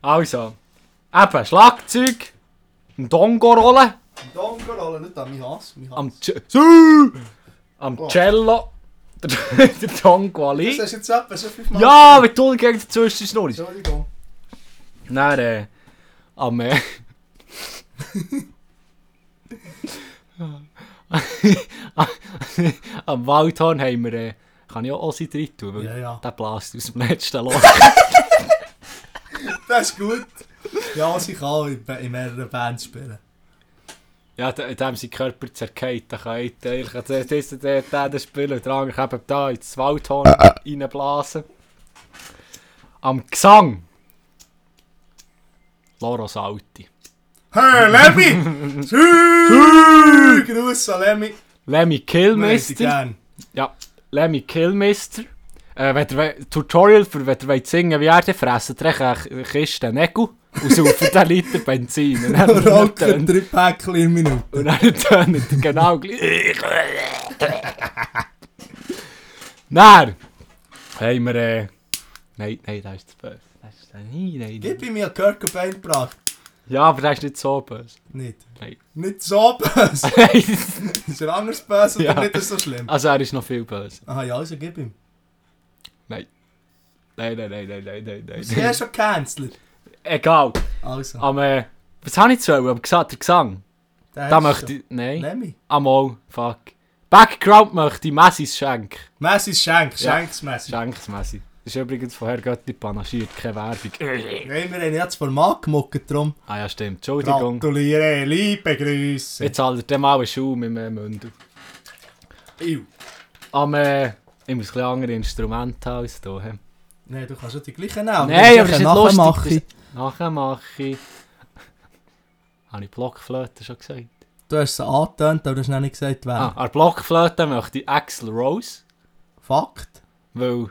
Speaker 2: Also. Eben, Schlagzeug. Ein Dongo rollen.
Speaker 1: Dongerole, nicht an mein Haas. Mein Haas.
Speaker 2: Am, Ce- Su! am
Speaker 1: Oh.
Speaker 2: Cello. Der, der Dongo
Speaker 1: das
Speaker 2: Ali.
Speaker 1: hast du jetzt etwa schon fünfmal.
Speaker 2: Ja, mit Tunnel gegen die Zwischenschnur.
Speaker 1: Entschuldigung.
Speaker 2: Dann äh, am... Äh, am Waldhorn haben wir... Äh, kann ich auch Ossi rein tun? weil
Speaker 1: Ja, ja.
Speaker 2: Der blast aus dem letzten Loch.
Speaker 1: Das ist gut. Ja, sie kann auch in, in mehreren Bands spielen.
Speaker 2: ja, da- in dem sein Körper zerkeit, dann kann ich eigentlich an der- dieser- der der der spielen und der andere eben da ins Waldhorn reinblasen. Am Gesang. Loro Salti.
Speaker 1: Hey, Lemmy! Tschüss! Grüße an Lemmy.
Speaker 2: Lemmy
Speaker 1: Wir haben dich
Speaker 2: Killmister.
Speaker 1: gern.
Speaker 2: Ja, Lemmy Killmister. Äh, wenn ihr we- Tutorial für wenn ihr wollt singen wie er die fressen, trägt eine Kiste Nägel und saufen einen Liter Benzin. Und dann-
Speaker 1: Raucht
Speaker 2: dann-
Speaker 1: drei Päckchen in Minute.
Speaker 2: und dann tönt er genau gleich. Dann haben wir... Äh, nein, nein, das ist zu böse. Das ist, nein, nein, nein.
Speaker 1: Gib ihm ja Kirk und Bane gebracht.
Speaker 2: Ja, aber das ist nicht so böse.
Speaker 1: Nicht.
Speaker 2: Nein.
Speaker 1: Nicht so böse. Ist er anders böse
Speaker 2: Ja.
Speaker 1: oder nicht so schlimm?
Speaker 2: also er ist noch viel böse.
Speaker 1: Aha, Ah, ja, also gib ihm.
Speaker 2: Nein, nein, nein, nein, nein, nein, nein.
Speaker 1: Ist er schon gecancelt?
Speaker 2: Egal.
Speaker 1: Also.
Speaker 2: Am... Äh, was habe ich zu sagen? Am Gesa- der Gesang.
Speaker 1: der
Speaker 2: Da
Speaker 1: ist
Speaker 2: möchte
Speaker 1: schon.
Speaker 2: ich... Nein.
Speaker 1: Lemmy.
Speaker 2: Amol, fuck. Background möchte ich Messis Schenk.
Speaker 1: Messis Schenk.
Speaker 2: Ja.
Speaker 1: Schenks Messi.
Speaker 2: Schenks Messi. Das ist übrigens von Herr Götti panaschiert, keine Werbung.
Speaker 1: Nein, wir haben jetzt Format gemuckt, drum.
Speaker 2: ah ja, stimmt. Entschuldigung.
Speaker 1: Gratuliere, liebe Grüße.
Speaker 2: Jetzt halt er dem mal einen Schaum im äh, Mund.
Speaker 1: Iu.
Speaker 2: Am, äh, ich muss ein bisschen andere Instrumente haben als du. hä?
Speaker 1: Nein, du kannst ja die gleichen nehmen.
Speaker 2: Nein, aber das ist nicht lustig.
Speaker 1: Mache ich.
Speaker 2: Das- Nachher mache ich... Habe ich Blockflöte schon gesagt?
Speaker 1: Du hast es angetönt, aber du hast noch nicht gesagt, wer.
Speaker 2: Ah, an der Blockflöte möchte ich Axel Rose,
Speaker 1: Fakt.
Speaker 2: weil...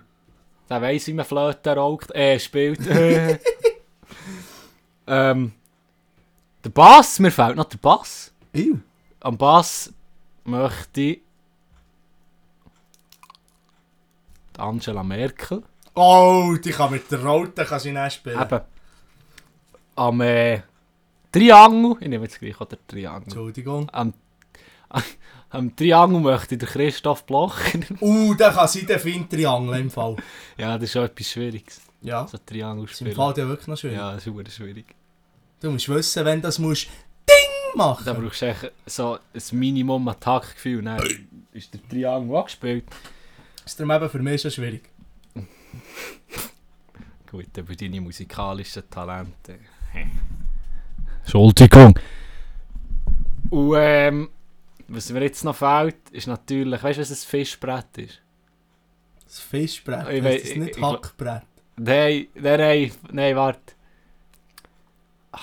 Speaker 2: Der weiss, wie man Flöte raucht, äh, spielt. ähm... Der Bass, mir fehlt noch der Bass.
Speaker 1: Iu.
Speaker 2: Am Bass möchte ich die Angela Merkel.
Speaker 1: Oh, die kann mit der Roten kann sie nicht spielen.
Speaker 2: Eben. Am äh, Triangel. Ich nehme jetzt gleich auch den Triangel.
Speaker 1: Entschuldigung.
Speaker 2: Am, am Triangel möchte ich den Christoph Blocher.
Speaker 1: Uh, der kann sie den Feintriangel im Fall.
Speaker 2: ja, das ist schon etwas Schwieriges.
Speaker 1: Ja.
Speaker 2: So Triangel
Speaker 1: Ist im
Speaker 2: spielen.
Speaker 1: Fall ja wirklich noch schön.
Speaker 2: Ja, das ist verdammt schwierig.
Speaker 1: Du musst wissen, wenn das musst, Ding machen.
Speaker 2: Da brauchst du echt so ein Minimum an Taktgefühl. Dann ist der Triangel angespielt.
Speaker 1: ist darum eben für mich schon schwierig.
Speaker 2: Gut, über deine musikalischen Talente. Entschuldigung. Und ähm, was mir jetzt noch fehlt, ist natürlich, weißt du, was ein Fischbrett ist?
Speaker 1: Das Fischbrett,
Speaker 2: Ich
Speaker 1: ich
Speaker 2: wei-
Speaker 1: das ist nicht
Speaker 2: ich- ich-
Speaker 1: Hackbrett.
Speaker 2: Nein, nein, nein, nein, warte. Ah.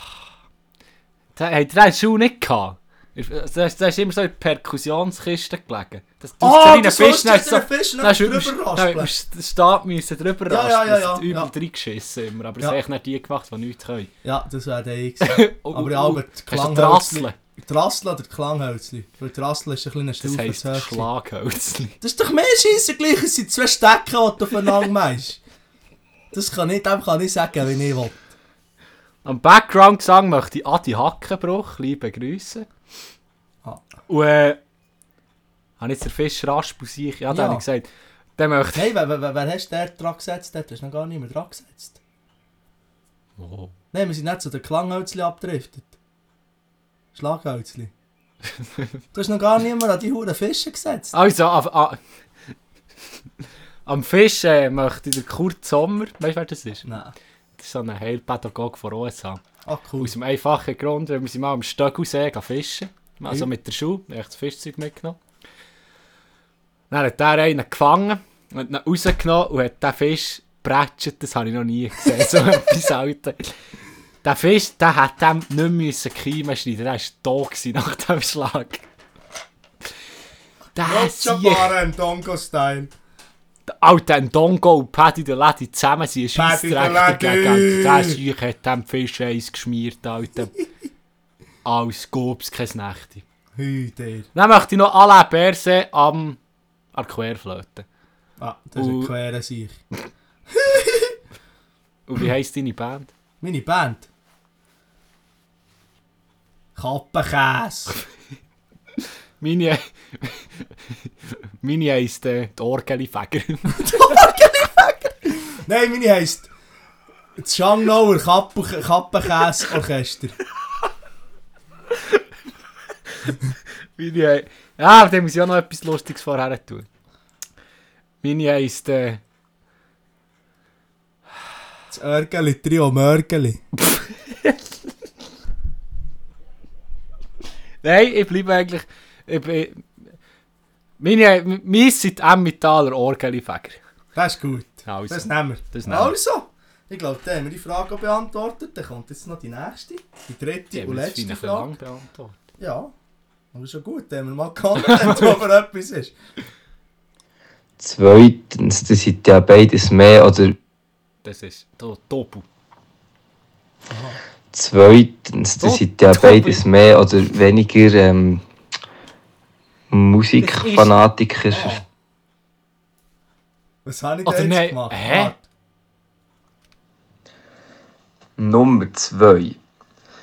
Speaker 2: Da- Hey, der hast du nicht gehabt. äh, Da hast du immer so in die Perkussionskiste gelegen. Das tust
Speaker 1: Ah,
Speaker 2: rein,
Speaker 1: du sollst
Speaker 2: dann hast
Speaker 1: dir
Speaker 2: du so-
Speaker 1: den Fisch
Speaker 2: dann hast du
Speaker 1: nicht
Speaker 2: über-
Speaker 1: drüber
Speaker 2: dann
Speaker 1: raspeln.
Speaker 2: hast du über den Stab müssen
Speaker 1: Ja,
Speaker 2: drüber
Speaker 1: ja,
Speaker 2: raspeln.
Speaker 1: ja,
Speaker 2: Das
Speaker 1: ja,
Speaker 2: hat übel
Speaker 1: ja.
Speaker 2: reingeschissen immer. Aber
Speaker 1: Ja.
Speaker 2: das haben nicht die gemacht, die nichts können.
Speaker 1: Ja, dus das wäre der ich gewesen.
Speaker 2: Oh,
Speaker 1: Aber
Speaker 2: oh,
Speaker 1: ja,
Speaker 2: oh.
Speaker 1: aber die
Speaker 2: Hast du
Speaker 1: Klanghölzchen.
Speaker 2: Trassle?
Speaker 1: Die Rassel oder die Klanghölzchen? Weil die Rassel ist ein kleiner
Speaker 2: Das
Speaker 1: Stufe
Speaker 2: heisst
Speaker 1: zu hoch.
Speaker 2: Schlaghölzchen.
Speaker 1: Das ist doch mehr Scheisse gleich, es sind zwei Stecken, die du aufeinander meinst. Das kann ich, dem kann ich sagen, wenn ich will.
Speaker 2: Am Background-Gesang möchte ich Adi Hackenbruch liebe Grüße.
Speaker 1: Ah.
Speaker 2: Und äh, habe jetzt der Fischer Raspusi, ja, den
Speaker 1: Ja.
Speaker 2: habe ich gesagt. Den möchte
Speaker 1: Hey, wer, wer, wer wer hast du der dran gesetzt? Dort hast du noch gar nicht mehr dran gesetzt.
Speaker 2: oh.
Speaker 1: Nein, wir sind nicht zu den Klanghölzchen abgedriftet. Schlaghölzchen. du hast noch gar nicht mehr an die Huren Fische gesetzt.
Speaker 2: Also, am, am- am Fisch äh, möchte ich der Kurt Sommer, weißt du, wer das ist?
Speaker 1: Nein.
Speaker 2: Das ist so ein Heilpädagoge von USA.
Speaker 1: Ah, cool.
Speaker 2: Aus dem einfachen Grund, weil wir sind mal am Stöckelsee gehen fischen. Also
Speaker 1: Mhm.
Speaker 2: mit der Schuhe, ich das Fischzeug mitgenommen. Dann hat der einen gefangen, hat ihn rausgenommen und hat den Fisch bretschet, das habe ich noch nie gesehen, so etwas Alter. Der Fisch, der hat dem nicht mehr müssen Kiemen schneiden Der war tot gewesen nach dem Schlag. Der hat sich...
Speaker 1: im Tongo-Style.
Speaker 2: Alter, ein Dongo und Paddy der Lady zusammen sind
Speaker 1: Paddy der
Speaker 2: Scheissdreck
Speaker 1: Lady.
Speaker 2: dagegen. Der Seuch hat dem Fisch eins geschmiert, Alter. Als gob's kein Nächte.
Speaker 1: Hü, der.
Speaker 2: Dann möchte ich noch Alain Berset am... an der Querflöte.
Speaker 1: Ah, das ist ein
Speaker 2: Und-
Speaker 1: querer Sieg.
Speaker 2: Und wie heisst deine Band?
Speaker 1: Meine Band. Kappenkäse.
Speaker 2: Meine... Meine heisst äh, die Orgelifäger.
Speaker 1: Nein, meine heisst das Schangnauer Kappen Kappenkäse-Orchester.
Speaker 2: Meine heisst... Ah, aber dem muss ich auch noch etwas Lustiges vorher tun. Meine heisst... Äh,
Speaker 1: Das Örgeli, Trio Mörgeli.
Speaker 2: Nein, ich bleibe eigentlich. Ich, ich, meine, wir sind Emmentaler Orgelifäger.
Speaker 1: Das ist gut.
Speaker 2: Also.
Speaker 1: Das nehmen wir.
Speaker 2: Das nehmen wir.
Speaker 1: also, ich glaube, da haben wir die Frage auch beantwortet. Dann kommt jetzt noch die nächste, die dritte und letzte Frage. Ja, aber schon gut, da haben wir mal gehandelt, wo aber etwas ist.
Speaker 3: Zweitens, das sind ja beides mehr oder
Speaker 2: Das ist do, doppel.
Speaker 3: Zweitens, das
Speaker 2: So,
Speaker 3: sind ja
Speaker 2: Tobi.
Speaker 3: beides mehr oder weniger ähm, Musikfanatiker.
Speaker 1: Was habe ich
Speaker 2: Oder
Speaker 1: denn
Speaker 2: nein,
Speaker 1: jetzt gemacht?
Speaker 2: hä?
Speaker 1: Warte.
Speaker 3: Nummer zwei.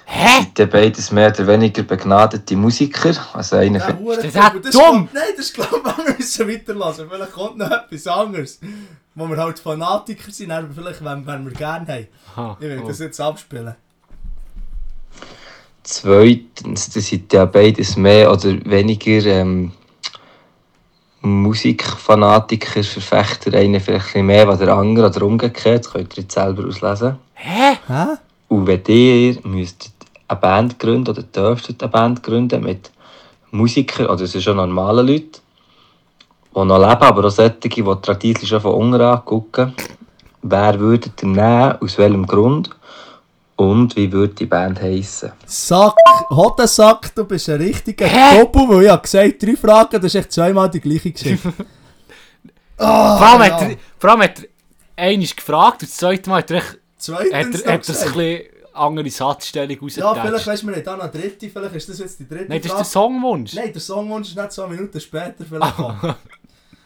Speaker 2: Hä?
Speaker 3: Sind ja beides mehr oder weniger begnadete Musiker. Also eigentlich
Speaker 1: Der Hure-
Speaker 2: das auch
Speaker 1: aber
Speaker 2: dumm?
Speaker 1: Kommt, nein, das ist glaube ich, wir müssen weiterlassen. Vielleicht kommt noch etwas anderes. Wo wir halt Fanatiker sind, aber vielleicht wenn, wenn wir gerne haben.
Speaker 2: Aha.
Speaker 1: Ich will
Speaker 2: oh.
Speaker 1: das jetzt abspielen.
Speaker 3: Zweitens, das sind ja beides mehr oder weniger ähm, Musikfanatiker, Verfechter, einer vielleicht ein bisschen mehr als der andere oder umgekehrt, das könnt ihr jetzt selber auslesen.
Speaker 2: Hä?
Speaker 1: Hä?
Speaker 3: Und wenn ihr müsstet eine Band gründen oder dürftet eine Band gründen mit Musikern, oder es sind schon normale Leute, die noch leben, aber auch solche, die traditionell schon von unten angucken, wer würdet ihr nehmen, aus welchem Grund und wie würde die Band heissen?
Speaker 1: Sack, Hodensack, du bist ein richtiger
Speaker 2: Hä?
Speaker 1: Doppel, weil ich habe gesagt, drei Fragen, das ist echt zweimal die gleiche gewesen. Ah,
Speaker 2: Vor allem
Speaker 1: ja.
Speaker 2: hat er, vor allem hat er einmal gefragt und das zweite Mal hat er, echt-
Speaker 1: Zweitens
Speaker 2: hat er, hat er
Speaker 1: noch
Speaker 2: sich ein
Speaker 1: gesagt.
Speaker 2: bisschen andere Satzstellung
Speaker 1: Ja, vielleicht
Speaker 2: rausgetauscht.
Speaker 1: weißt du, wir haben da noch eine dritte, vielleicht ist das jetzt dus die dritte
Speaker 2: Nein, das ist der
Speaker 1: Frage.
Speaker 2: Songwunsch.
Speaker 1: Nein, der Songwunsch ist nicht zwei Minuten später vielleicht kommen.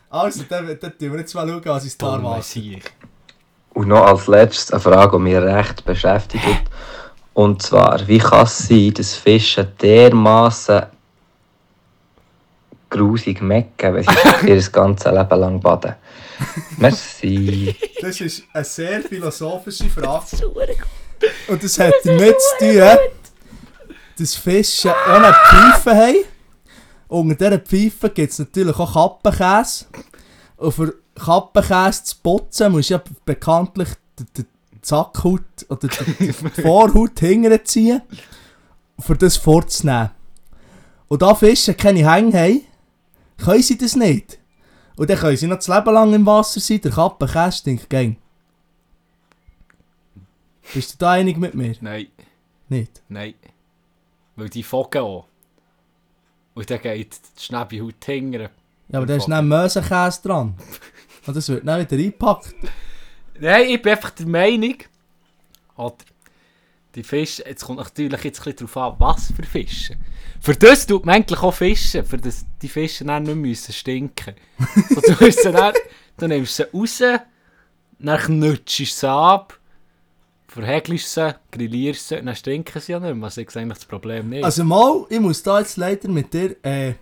Speaker 1: Also, dann, dann tun wir jetzt mal schauen, was ist da
Speaker 2: Dummer
Speaker 1: war.
Speaker 2: Sieg.
Speaker 3: Und noch als letztes eine Frage, die mich recht beschäftigt. Und zwar, wie kann es sein, dass Fische dermaßen grusig mecken, wenn sie ihr ganzes Leben lang baden? Merci.
Speaker 1: Das ist eine sehr philosophische Frage. Und das hat nichts zu tun, dass Fische ohne Pfeife haben. Unter dieser Pfeife gibt es natürlich auch Kappenkäse. Und für Kappenkäse zu putzen, musst du ja bekanntlich die, die die Sackhaut oder die, die Vorhaut hinterziehen, um das vorzunehmen. Und da Fische keine Hänge haben, können sie das nicht. Und dann können sie noch das Leben lang im Wasser sein, der Kappenkäse stinkt gang. Bist du da einig mit mir?
Speaker 2: Nein,
Speaker 1: Nicht.
Speaker 2: nein. Weil die Vogel auch. Und dann geht die Schnäbihaut hingern.
Speaker 1: Ja, aber da ist dann Mösenkäse dran. Und das wird dann wieder eingepackt.
Speaker 2: Nein, ich bin einfach der Meinung, oder die Fische, jetzt kommt natürlich jetzt ein bisschen darauf an, was für Fische. Für das tut man eigentlich auch Fische, für das dus die Fische dann nicht müssen stinken so, du, nimmst sie dann, du nimmst sie raus, dann knutschst du sie ab, verhäkelst sie, grillierst sie, dann stinken sie ja nicht mehr. Also ich sehe eigentlich das Problem nicht.
Speaker 1: Also mal, ich muss da jetzt leider mit dir äh,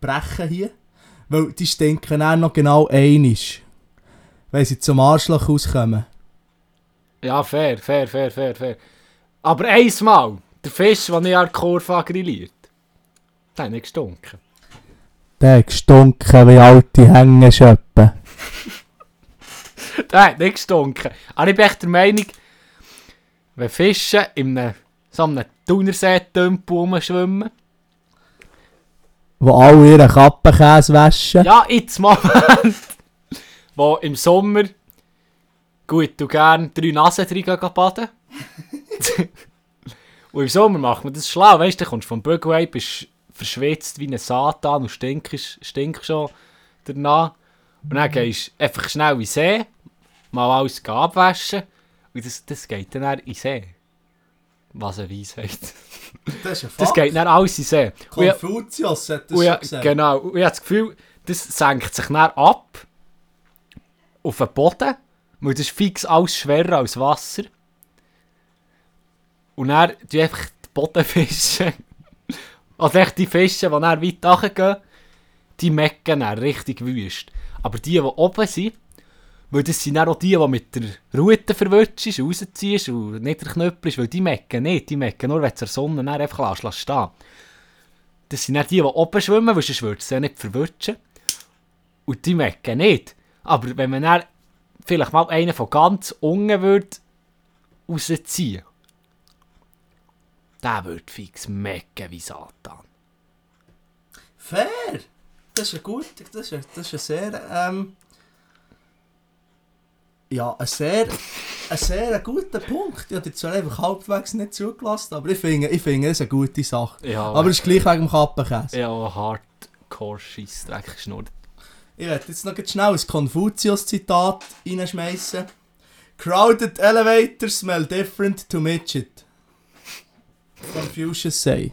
Speaker 1: brechen hier. Weil die stinken dann noch genau einig. Wenn sie zum Arschloch rauskommen.
Speaker 2: ja, fair, fair, fair, fair, fair. Aber einmal, der Fisch, den ich an der Kurve habe grilliert der hat nicht gestunken.
Speaker 1: Der hat gestunken wie alte Hängeschöppen.
Speaker 2: Der hat nicht gestunken. Aber Ah, ich bin echt der Meinung, wenn Fische in einem, so einem Thunersee-Tümpel rumschwimmen,
Speaker 1: Wo alle ihren Kappenkäse waschen.
Speaker 2: ja, jetzt mal, wo im Sommer gut und gern drei Nasen drin gehen baden Und im Sommer macht man das schlau, weißt du, dann kommst du vom Bügelheim, bist verschwitzt wie ein Satan und stinkst, stinkst schon danach. Und dann gehst du einfach schnell in den See, mal alles abwaschen und das, das geht dann, dann in den See. Was eine Weisheit.
Speaker 1: Das ist ein Fakt.
Speaker 2: Das geht dann alles in den See. Und ich-
Speaker 1: Konfuzius hat das
Speaker 2: und
Speaker 1: schon
Speaker 2: Oh ja,
Speaker 1: gesagt.
Speaker 2: genau. Und ich habe das Gefühl, das senkt sich dann ab auf den Boden, weil das ist fix alles schwerer als Wasser. Und dann die einfach die Bodenfische, also echt die Fische, die dann weit runtergehen, die mecken dann richtig wüst. Aber die, die oben sind, weil das sind dann auch die, die mit der Rute verwirrst, rausziehst und nicht der Knöppel ist, weil die mecken nicht, die mecken nur, wenn du der Sonne dann einfach lässt, lässt stehen das sind nicht die, die oben schwimmen, weil sonst würden sie ja nicht verwirrtschen. Und die merken nicht. Aber wenn man dann vielleicht mal einen von ganz unten würde rausziehen, der würde fix mecken wie Satan.
Speaker 1: Fair! Das ist ein gut, das ist ein, das ist ein sehr, ähm... Ja, ein sehr, ein sehr guter Punkt. Ich habe dir zwar einfach halbwegs nicht zugelassen, aber ich finde, ich finde, das ist eine gute Sache.
Speaker 2: Ja,
Speaker 1: aber es ist gleich wegen dem Kappenkäse.
Speaker 2: ja Hardcore-Scheiss-Dreck geschnurrt.
Speaker 1: Ich werde jetzt noch ganz schnell ein Konfuzius-Zitat reinschmeißen. Crowded elevators smell different to midget. Confucius say.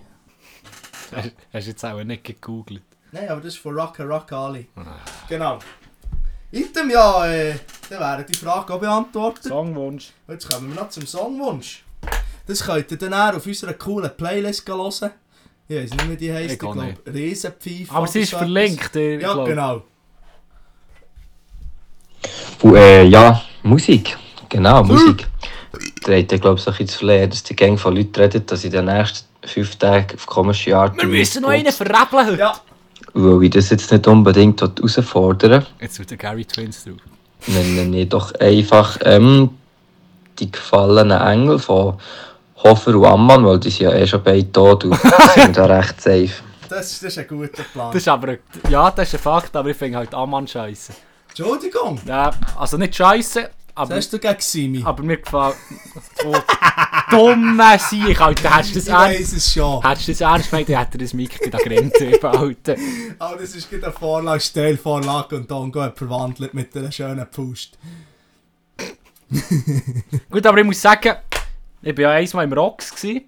Speaker 2: Hast du jetzt auch nicht gegoogelt?
Speaker 1: Nein, aber das ist von Rocka Rocka Ali.
Speaker 2: Ah,
Speaker 1: Genau. Item ja, äh, dann wäre die Frage auch beantwortet.
Speaker 2: Songwunsch.
Speaker 1: Jetzt kommen wir noch zum Songwunsch. Das könnt ihr dann auch auf unserer coolen Playlist hören. Ich weiß nicht mehr, die heisst. Ich
Speaker 2: Ich auch
Speaker 1: glaube,
Speaker 2: nicht.
Speaker 1: Riesenpfeife.
Speaker 2: Aber sie
Speaker 1: oder
Speaker 2: ist
Speaker 1: so
Speaker 2: verlinkt,
Speaker 1: etwas.
Speaker 2: ich
Speaker 1: Ja,
Speaker 2: glaube.
Speaker 1: genau.
Speaker 3: Und äh, ja, Musik.
Speaker 2: Hm.
Speaker 3: Genau, Musik. Da hat glaube ich, so ein bisschen zu verlieren, dass die Gang von Leuten reden, dass ich den nächsten fünf Tagen auf komische Art.
Speaker 2: Wir müssen noch einen verrappeln heute.
Speaker 1: Ja,
Speaker 3: Weil ich das jetzt nicht unbedingt herausfordern
Speaker 2: Jetzt wird der Gary Twins drauf.
Speaker 3: nenne ich doch einfach ähm, die gefallenen Engel von Hofer und Ammann, weil die sind ja eh schon beide tot und sind da recht safe.
Speaker 1: das, das ist ein guter Plan.
Speaker 2: Das ist aber, ein- ja, das ist ein Fakt, aber ich finde halt Ammann scheisse.
Speaker 1: Entschuldigung,
Speaker 2: Ja, also nicht scheisse,
Speaker 1: was
Speaker 2: aber,
Speaker 1: hast du gegen Simi?
Speaker 2: aber mir gefällt. Oh, dumme Sieg, Alter. Hättest du das
Speaker 1: Ich
Speaker 2: ernst,
Speaker 1: weiss es schon.
Speaker 2: hättest du das ernst gemeint, dann hätte er das Mic da gegrinnt, Alter.
Speaker 1: Aber das ist gerade eine Vorlage, Stellvorlage und Dongo hat verwandelt mit einer schönen Pust.
Speaker 2: Gut, aber ich muss sagen, ich war ja einmal im Rocks. Gewesen,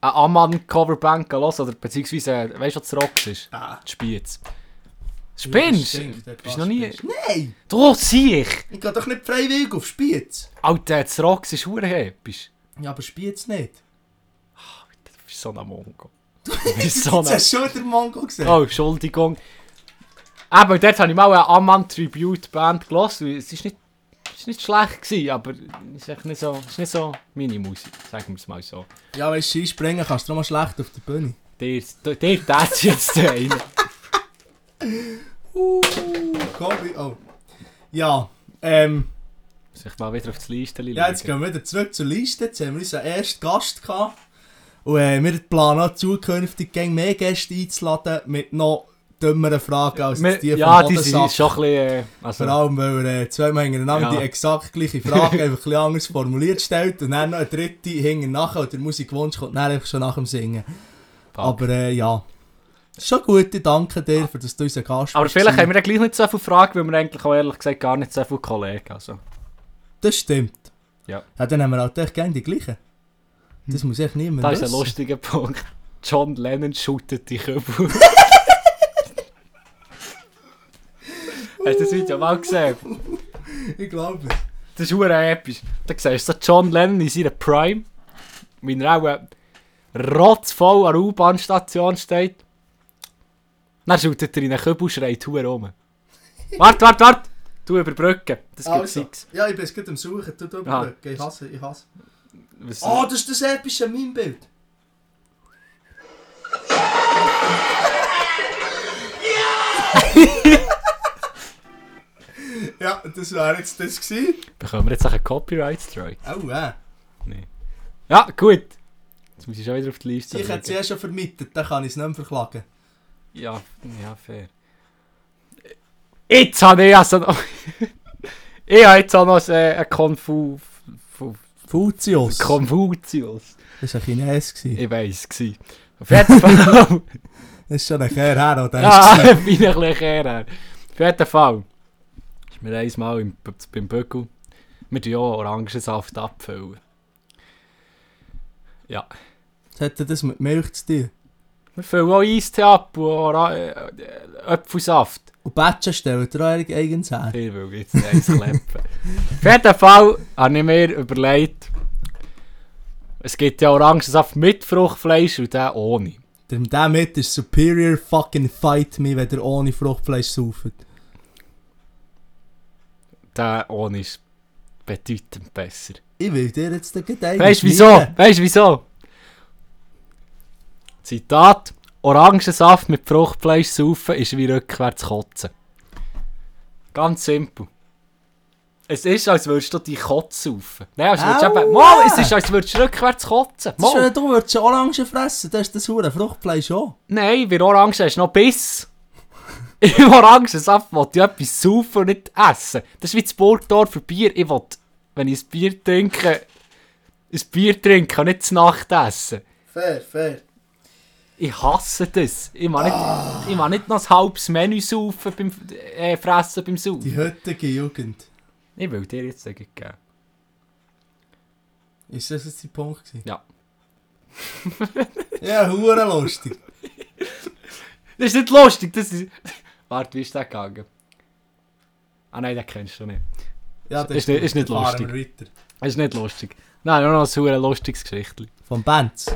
Speaker 2: eine Ammann-Coverband los oder beziehungsweise, äh, weißt du, was das Rocks ist?
Speaker 1: Ah.
Speaker 2: Die Spiez.
Speaker 1: das
Speaker 2: Spinnst?
Speaker 1: stinkt, dort
Speaker 2: Bist du noch nie.
Speaker 1: Spiez. Nein,
Speaker 2: Du sieh ich!
Speaker 1: ich gehe doch nicht freiwillig auf Spiez.
Speaker 2: Alter, das Rocks ist hure episch.
Speaker 1: Ja, aber Spiez nicht.
Speaker 2: Du bist so ein Mongo.
Speaker 1: So Jetzt hast du schon den Mongo gesehen.
Speaker 2: Oh, Entschuldigung. Aber dort habe ich mal eine Amman Tribute Band gelesen. und Es ist nicht, es ist nicht schlecht gewesen, aber es ist echt nicht so, es ist nicht so meine Musik, sagen wir es mal so.
Speaker 1: Ja, weißt du, Skispringen kannst du doch mal schlecht auf der Bühne.
Speaker 2: Der, der, der tät's jetzt rein.
Speaker 1: Kobe, oh. Ja, ähm,
Speaker 2: Muss ich mal wieder auf das Liste legen.
Speaker 1: ja, jetzt gehen wir wieder zurück zur Liste. Jetzt haben wir unseren ersten Gast gehabt. Und äh, wir planen auch zukünftig gegen mehr Gäste einzuladen mit noch dümmeren Fragen als
Speaker 2: Wir-
Speaker 1: die
Speaker 2: ja,
Speaker 1: vom
Speaker 2: die sind
Speaker 1: Bodensack.
Speaker 2: schon ein bisschen... Äh, also,
Speaker 1: Vor allem, weil er äh, zweimal hintereinander
Speaker 2: Ja.
Speaker 1: die exakt gleiche Frage einfach ein bisschen anders formuliert stellt und dann noch eine dritte hinten nachher oder der Musikwunsch kommt dann einfach schon nach dem Singen. Aber äh, ja, ist schon gut, ich danke dir, für dass du unser Gast
Speaker 2: aber
Speaker 1: bist.
Speaker 2: vielleicht haben wir ja gleich nicht so viele Fragen, weil wir eigentlich auch ehrlich gesagt gar nicht so viele Kollegen also.
Speaker 1: Das stimmt.
Speaker 2: Ja. Hm.
Speaker 1: Ja, dann haben wir halt echt gerne nou die Dus gleichen. Das muss echt niemand
Speaker 2: Das ist ein
Speaker 1: wissen.
Speaker 2: lustiger Punkt. John Lennon shootet die Kübel. Hast du das Video mal gesehen?
Speaker 1: Ich glaube
Speaker 2: Das ist hure episch. Da siehst du so John Lennon in seiner Prime, wie er auch äh, rotzvoll an der U-Bahn-Station steht. Dann schüttet er in einen Kübel und schreit hure rum. Wart, wart, wart! Du überbrücken. Das
Speaker 1: es.
Speaker 2: gibt also.
Speaker 1: Also,
Speaker 2: sechs.
Speaker 1: ja, ich bin jetzt gerade am Suchen. Du, du,
Speaker 2: Ah.
Speaker 1: du, ich hasse, ich hasse.
Speaker 2: Was-
Speaker 1: Oh, das ist das epische Meme-Bild. ja, das wäre jetzt das gewesen.
Speaker 2: Bekommen wir jetzt auch einen Copyright-Strike?
Speaker 1: Oh, äh.
Speaker 2: Ja, Dus gut. Jetzt muss ich schon wieder auf die Liste.
Speaker 1: Ich hätte sie
Speaker 2: schauen.
Speaker 1: ja schon vermietet, dann kann ich es nicht mehr verklagen.
Speaker 2: Ja, ja, fair. äh, Jetzt habe ich also noch... ich habe jetzt auch noch so einen Konfu... Fu-
Speaker 1: Fuzius.
Speaker 2: Konfuzius.
Speaker 1: Das war ein Chines. gewesen.
Speaker 2: Ich weiss, gsi. Auf jeden Fall.
Speaker 1: Das ist schon ein Kerl her, oder?
Speaker 2: Ja, bin ich ein bisschen her. Auf jeden Fall. Ist mir einmal im, B- beim Böckel. Wir tun ja Orangensaft abfüllen. Ja.
Speaker 1: Was hat denn das mit Milch zu tun?
Speaker 2: Wir füllen auch Eistee ab und Ora- äh, äh, Apfelsaft.
Speaker 1: Und Batschen stellt er auch eure eigens her.
Speaker 2: Ich will jetzt nicht eins kleppen. Auf jeden Fall habe ich mir überlegt, es gibt ja Orangensaft mit Fruchtfleisch und den ohne.
Speaker 1: Dem damit ist Superior fucking fight me, wenn ihr ohne Fruchtfleisch sauft.
Speaker 2: Der ohne ist bedeutend besser.
Speaker 1: Ich will dir jetzt den Gedanken.
Speaker 2: Weißt du wieso? Weißt du wieso? Zitat: Orangensaft mit Fruchtfleisch saufen ist wie rückwärts kotzen. Ganz simpel. Es ist, als würdest du die Kotze saufen. Nein, als würdest du
Speaker 1: Aua!
Speaker 2: eben. Mal, es ist, als würdest du rückwärts kotzen.
Speaker 1: Das ist,
Speaker 2: Mal.
Speaker 1: wenn du würdest eine Orange fressen, dus dann ist das hure Fruchtfleisch auch.
Speaker 2: Nein, bei Orangen hast du noch Biss. Im Orangensaft will ich etwas saufen und nicht essen. Das ist wie das Burgdorfer Bier. Ich will, wenn ich ein Bier trinke, ein Bier trinken und nicht zu Nacht essen.
Speaker 5: Fair, fair.
Speaker 2: Ich hasse das. Ich mag nicht, ich mag nicht noch ein halbes Menü saufen beim äh, Fressen beim
Speaker 1: Die
Speaker 2: Saufen.
Speaker 1: heutige Jugend.
Speaker 2: Ich will dir jetzt sagen, geben.
Speaker 1: Ist das jetzt dein Punkt gewesen?
Speaker 2: Ja.
Speaker 1: ja, hure lustig.
Speaker 2: Das ist nicht lustig, das ist... Warte, wie ist der gegangen? Ah nein, den kennst du nicht.
Speaker 1: Ja, das
Speaker 2: Ist nicht- ist nicht
Speaker 1: fahren
Speaker 2: lustig.
Speaker 1: wir weiter.
Speaker 2: Das ist nicht lustig. Nein, nur noch ein verdammt lustiges Geschichtli.
Speaker 1: Von Benz.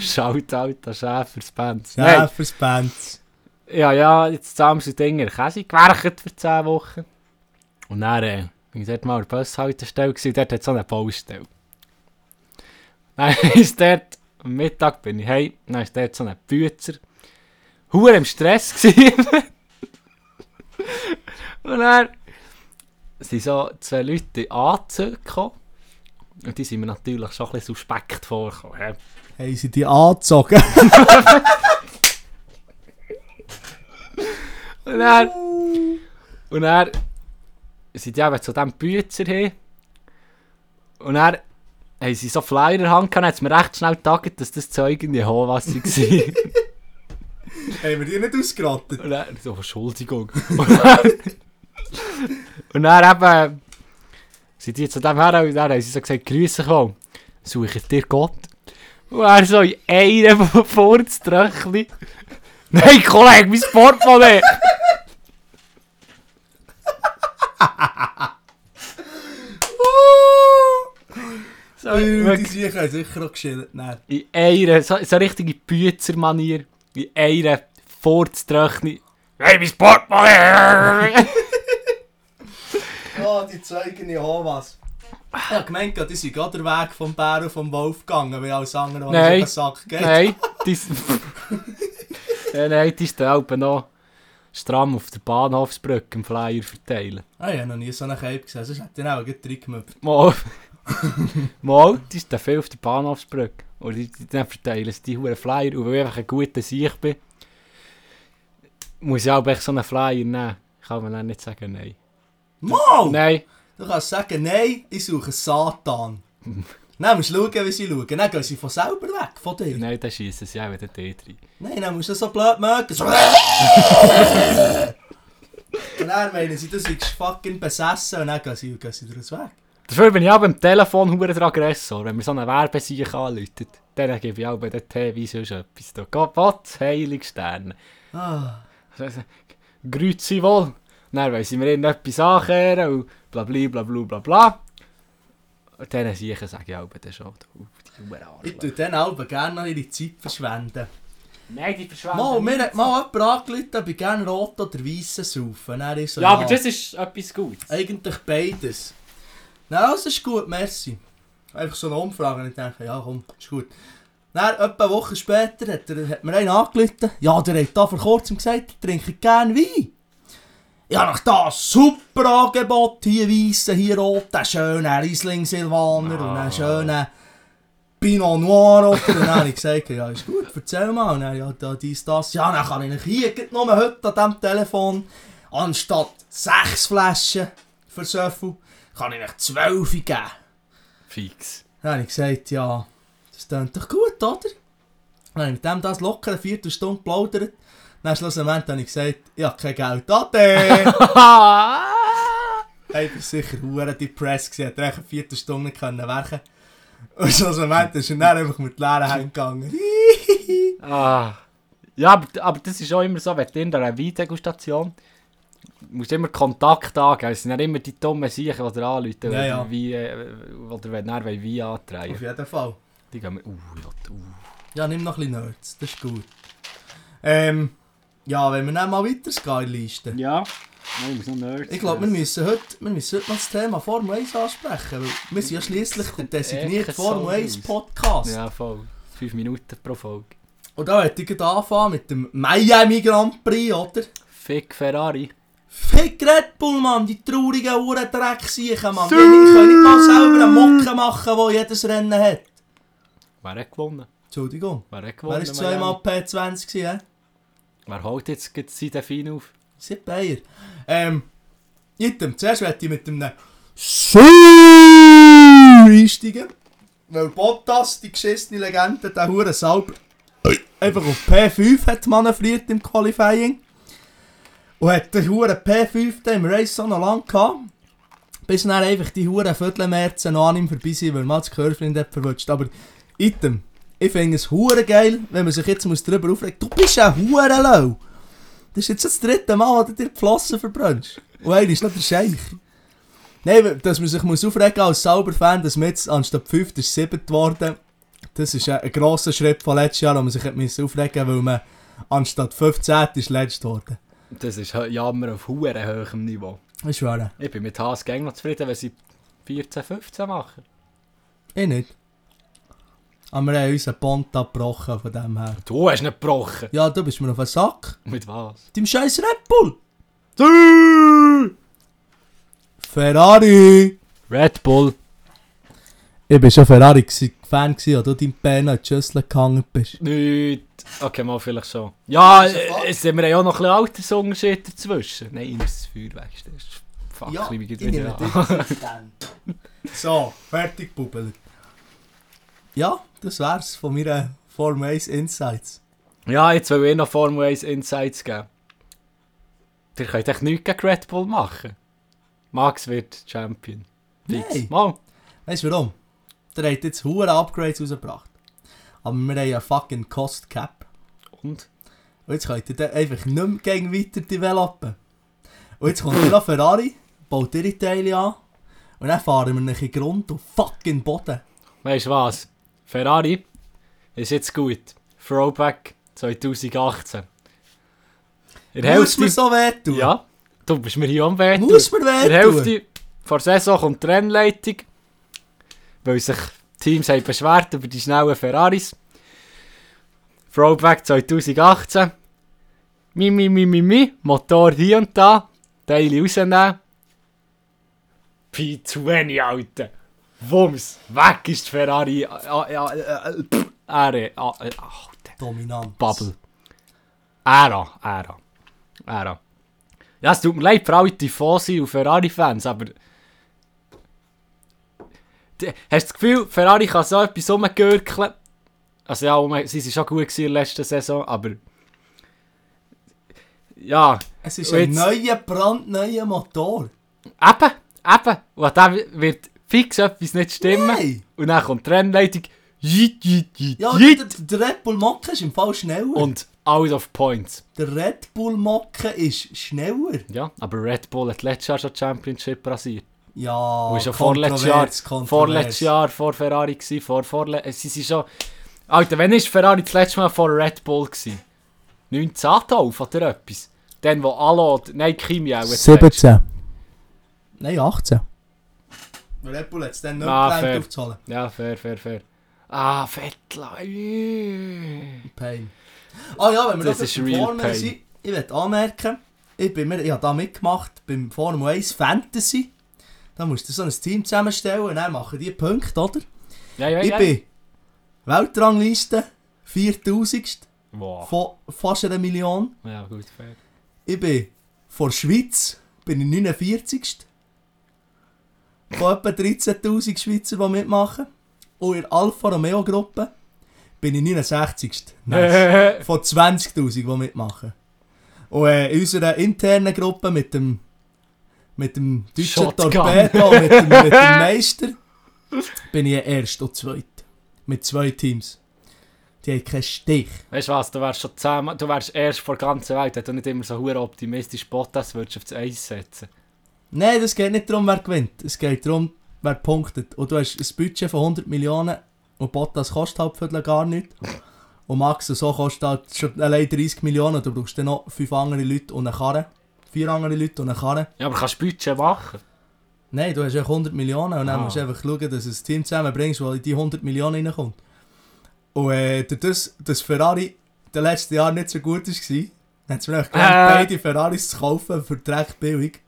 Speaker 2: Shoutout an Schäfers Bands. Ja. Nein,
Speaker 1: Schäfers Benz.
Speaker 2: ja, ja, jetzt zusammen sind Dinger Käse gewerkt für 10 Wochen. Und dann äh, bin ich dort mal an der Bushaltestelle gewesen, und dort hat so eine Baustelle. Dann ist dort, am Mittag bin ich heim, dann ist dort so ein Bützer. Huren im Stress gewesen. und dann sind so zwei Leute in Anzüge gekommen. Und die sind mir natürlich schon ein bisschen suspekt vorgekommen. hä?
Speaker 1: Haben sie die angezogen?
Speaker 2: Und er. Und er. sind die eben zu diesem Bützer hin. Und er. haben sie so Flyer in der Hand gehabt, hat es mir recht schnell getaggt, dass das Zeug in die Hohwasser war.
Speaker 1: Haben wir die nicht ausgerottet?
Speaker 2: Und dann, so, Entschuldigung. Und dann, und dann eben, sind die zu dem her und dann haben sie so gesagt, grüße komm, suche dir Gott. Und er so in einem Furztröchli. Nein, Kollege, mein Portemonnaie! so,
Speaker 1: Die
Speaker 2: wirklich,
Speaker 1: Sicher haben sicher auch geschillt. Nein.
Speaker 2: in einer, so, so richtige Bützermanier, in einer Furztröchli. Hey, mein Portemonnaie!
Speaker 1: Oh, die Zeugen Jehovas. Ich habe gemeint, die sind gerade den Weg vom Bär und vom Wolf gegangen, weil alles andere, was
Speaker 2: Nein.
Speaker 1: in den Sack geht.
Speaker 2: Nein, die ja, nein, die Strauben noch stramm auf der Bahnhofsbrücke im Flyer verteilen.
Speaker 1: Ah, ich habe noch nie so einen Cape gesehen, sonst hätte ich ihn auch gleich reingemüpft.
Speaker 2: Mal, mal die ist viel auf der Bahnhofsbrücke. Und die, die, dann verteilen sie die huren Flyer. Und weil ich einfach ein guter Sieg bin, muss ich auch echt so einen Flyer nehmen. Kann man dann nicht sagen, nein.
Speaker 1: Mal!
Speaker 2: Nein,
Speaker 1: Du kannst sagen, nein, ich suche Satan. Dann musst du schauen, wie sie schauen. Dann gehen sie von selber weg, von dir.
Speaker 2: nein, dann schiessen sie auch wieder dort rein.
Speaker 1: Nein, dann musst du so blöd mögen. So. und dann meinen sie, du seist fucking besessen und dann gehen sie, gehen sie daraus weg.
Speaker 2: Dafür bin ich auch beim Telefon hure der Aggressor. Wenn mir so eine Werbesieg anläutet, dann gebe ich auch bei den TV sonst etwas. Da geht was, heilig Sterne.
Speaker 1: Ah,
Speaker 2: Grüezi wohl. Dann wollen sie mir irgendetwas ankehren und bla bla bla bla bla bla. Und diesen Siechen sage ich auch dann schon, du, die
Speaker 1: ich
Speaker 2: Hurenarschloch.
Speaker 1: tue dann auch gerne noch ihre Zeit verschwenden.
Speaker 2: Nein, die verschwenden
Speaker 1: Mal, mir hat mal jemand angerufen, ob ich gerne rot oder weiss saufen. Dann ist so,
Speaker 2: Ja, aber das ist etwas Gutes.
Speaker 1: Eigentlich beides. Na, das ist gut, merci. Einfach so eine Umfrage und ich denke, ja komm, ist gut. Dann, etwa eine Woche später, hat, er, hat mir einen angerufen. Ja, der hat da vor kurzem gesagt, er trinke gerne Wein. Ja, nach das super Angebot, hier weissen, hier rot, einen schönen Riesling Silvaner und einen schönen Pinot Noir. Oder? Und dann habe ich gesagt, ja ist gut, erzähl mal. Und dann, ja, da, dies, das. Ja, dann kann ich euch hier gerade nur heute an diesem Telefon anstatt sechs Flaschen für so viel, kann ich euch 12 geben. Dann
Speaker 2: Fix.
Speaker 1: habe ich gesagt, ja, das klingt doch gut, oder? Dann habe ich mit dem das locker eine Viertelstunde geplaudert. Dann schlussendlich habe ich gesagt, ich habe kein Geld. Ade!
Speaker 2: Ah!
Speaker 1: Hey, ich war sicher hure depressed. gewesen, hat echt eine Viertelstunde nicht können werken Und so einem Moment ist er dann einfach mit leeren Händen gegangen. Hihihi.
Speaker 2: Ah. Ja, aber, aber das ist auch immer so, wenn du in einer Weindegustation musst du immer Kontakt angeben. Es sind ja immer die dummen Siechen, die dir anrufen, wenn
Speaker 1: Ja, ja.
Speaker 2: die Wein, äh, oder wenn er Wein antreiben
Speaker 1: Auf jeden Fall.
Speaker 2: Die gehen mir, uh, ja, uh.
Speaker 1: Ja, nimm noch ein bisschen Nerds, das ist gut. Ähm, ja, nou wenn wir dann mal weitergehen in der Liste.
Speaker 2: Ja, nein, ich muss noch Nerds.
Speaker 1: Ich glaube, wir müssen, heute, wir müssen heute mal das Thema Formel 1 ansprechen. Weil wir sind ja schliesslich der designierte
Speaker 2: echt so
Speaker 1: Formel 1
Speaker 2: raus.
Speaker 1: Podcast.
Speaker 2: Ja, voll. 5 Minuten pro Folge.
Speaker 1: Und da hätte ich gerade anfangen mit dem Miami Grand Prix, oder?
Speaker 2: Fick Ferrari.
Speaker 1: Fick Red Bull, Mann, die traurigen Uhrendrecksiechen, Mann. Die können nicht mal selber eine Mocke machen, die jedes Rennen hat.
Speaker 2: Wer hat gewonnen?
Speaker 1: Entschuldigung.
Speaker 2: Wer hat gewonnen?
Speaker 1: Wer ist zweimal P20 gewesen, hä?
Speaker 2: Wer holt jetzt gerade seinen Delfin auf?
Speaker 1: Seid Bayer. Ähm, item, zuerst möchte ich mit dem einsteigen. Weil Bottas, die geschissene Legende, der Hure selber einfach auf P5 hat manövriert im Qualifying. Und hat den Hure P5 dann im Race so noch lang gehabt. Bis dann einfach die Hure Viertelmärzen noch an ihm vorbei sind, weil man das Körfchen nicht verwünscht. Aber item, ich finde es Hure geil, wenn man sich jetzt muss drüber aufregt. Du bist ein Hure Lau. Das ist jetzt das dritte Mal, dass du dir die Flossen verbrennst. Und einer ist noch der Scheich. Nein, weil- dass man sich muss aufregen als Sauber-Fan, dass man jetzt anstatt fünft ist siebert geworden. Das ist äh, ein grosser Schritt von letztes Jahr, wo man sich hat müssen aufregen weil man anstatt 15 ist letzt geworden.
Speaker 2: Das ist hö- Jammer auf huere hohem Niveau.
Speaker 1: Ich schwöre.
Speaker 2: Ich bin mit Haas Gang noch zufrieden, wenn sie 14, 15 machen.
Speaker 1: Ich nicht. Aber wir haben unseren Bond abgebrochen von dem her.
Speaker 2: Du hast nicht gebrochen.
Speaker 1: Ja, du bist mir auf den Sack.
Speaker 2: Mit was?
Speaker 1: Mit Deinem scheiß Red Bull. Ferrari.
Speaker 2: Red Bull.
Speaker 1: Ich war schon Ferrari-Fan, als du deinem Bern an die Schüssel gehangen bist.
Speaker 2: Nicht. Okay, mal vielleicht schon. Ja, äh, es sind wir ja auch noch ein bisschen Altersunterschied dazwischen. Nein, ich muss das Feuer wegstellen. Fuck, ich bin wieder an.
Speaker 1: So, fertig, Bubel. Ja, das wär's von meiner Form 1 Insights.
Speaker 2: Ja, jetzt will ich noch Formel 1 Insights geben. Ihr könnt echt nichts gegen Red Bull machen. Max wird Champion. Fix.
Speaker 1: Nein.
Speaker 2: Mal.
Speaker 1: Weißt du warum? Der hat jetzt hohe Upgrades rausgebracht. Aber wir haben einen fucking Cost Cap.
Speaker 2: Und?
Speaker 1: Und jetzt könnt ihr den einfach nicht mehr gegen weiter developen. Und jetzt kommt hier noch Ferrari, baut ihre Teile an. Und dann fahren wir nicht in den Grund und fucking Boden.
Speaker 2: Weißt du was? Ferrari ist jetzt gut. Throwback 2018. In der
Speaker 1: Muss mir
Speaker 2: Hälfte.
Speaker 1: so wehtun.
Speaker 2: Ja, du bist mir hier am Wert.
Speaker 1: Muss mir
Speaker 2: In der
Speaker 1: wehtun.
Speaker 2: Hälfte vor der Saison kommt die Rennleitung, weil sich die Teams haben beschwert über die schnellen Ferraris. Throwback 2018. Mi, mi, mi, mi, mi. Motor hier und da. Teile rausnehmen. P20, Alter. Wumms. Weg ist die Ferrari. Ah, ja, äh, äh, pff, Ära. Ah, äh, Alter.
Speaker 1: Dominant.
Speaker 2: Bubble. Ära, Ära. Ära. Ja, es tut mir leid für alle Tifosi und Ferrari-Fans, aber... D- Hast du das Gefühl, Ferrari kann so etwas rumgürkeln? Also ja, um- sie waren schon gut gewesen in der letzten Saison, aber... Ja,
Speaker 1: Es ist
Speaker 2: Und
Speaker 1: ein
Speaker 2: jetzt-
Speaker 1: neuer, brandneuer Motor.
Speaker 2: eben, eben. Und an dem wird fix etwas nicht stimmen.
Speaker 1: Nein.
Speaker 2: Und dann kommt die Rennleitung. Jit, jit, jit,
Speaker 1: Ja,
Speaker 2: jit.
Speaker 1: der, der Red Bull Mocke ist im Fall schneller.
Speaker 2: Und out of points.
Speaker 1: der Red Bull Mocke ist schneller.
Speaker 2: Ja, aber Red Bull hat letztes Jahr schon die Championship rasiert.
Speaker 1: Ja,
Speaker 2: Oh, ist ja vorletztes Jahr,
Speaker 1: kontrovers, kontrovers.
Speaker 2: vorletztes Jahr vor Ferrari gsi, vor vorle äh, sie sind schon Alter, wann ist Ferrari das letzte Mal vor Red Bull gsi? 19 auf oder etwas? Dann wo Allo, nein Kimi auch. jetzt letztes-
Speaker 1: Nein, 18. Red Bull hat es dann nicht
Speaker 2: Ah, fair.
Speaker 1: gelernt aufzuholen.
Speaker 2: Ja, fair, fair, fair. Ah, äh. Vettel.
Speaker 1: Pain. Ah ja, wenn wir
Speaker 2: Das
Speaker 1: noch
Speaker 2: ist
Speaker 1: beim
Speaker 2: real
Speaker 1: Formel
Speaker 2: pain.
Speaker 1: sind, ich will anmerken, ich, bin mir, ich habe da mitgemacht beim Formel 1 Fantasy. Da musst du so ein Team zusammenstellen und dann machen die Punkte, oder?
Speaker 2: Ja, ja,
Speaker 1: Ich
Speaker 2: ja.
Speaker 1: bin Weltrangliste 4000.
Speaker 2: Wow.
Speaker 1: von fast einer Million.
Speaker 2: Ja, gut, fair.
Speaker 1: Ich bin von der Schweiz, bin ich 49. von etwa 13.000 Schweizer, die mitmachen. Und in der Alfa Romeo Gruppe bin ich 69. Nice. Von 20.000, die mitmachen. Und äh, in unserer internen Gruppe mit dem, mit dem deutschen
Speaker 2: Shotgun.
Speaker 1: Torpedo, mit dem, mit dem Meister, bin ich erst und zweit. Mit zwei Teams. Die haben keinen Stich.
Speaker 2: Weißt du was, du wärst schon zehnmal, du wärst erst vor der ganzen Welt, wenn du nicht immer so hure optimistisch Bottas würdest auf das Eis setzen.
Speaker 1: Nein, das geht nicht darum, wer gewinnt. Es geht darum, wer punktet. Und du hast ein Budget von 100 Millionen und Bottas kostet halt viertel gar nichts. Und Max und so kostet halt schon allein 30 Millionen. Du brauchst dann noch fünf andere Leute und eine Karre. Vier andere Leute und eine Karre.
Speaker 2: Ja, aber kannst du Budget machen?
Speaker 1: Nein, du hast echt 100 Millionen und dann
Speaker 2: Ah.
Speaker 1: musst du einfach schauen, dass du ein Team zusammenbringst, das in die 100 Millionen reinkommt. Und äh, durch das, dass Ferrari in den letzten Jahren nicht so gut war, hat es mir einfach gelernt,
Speaker 2: Äh.
Speaker 1: beide Ferraris zu kaufen für dreck billig.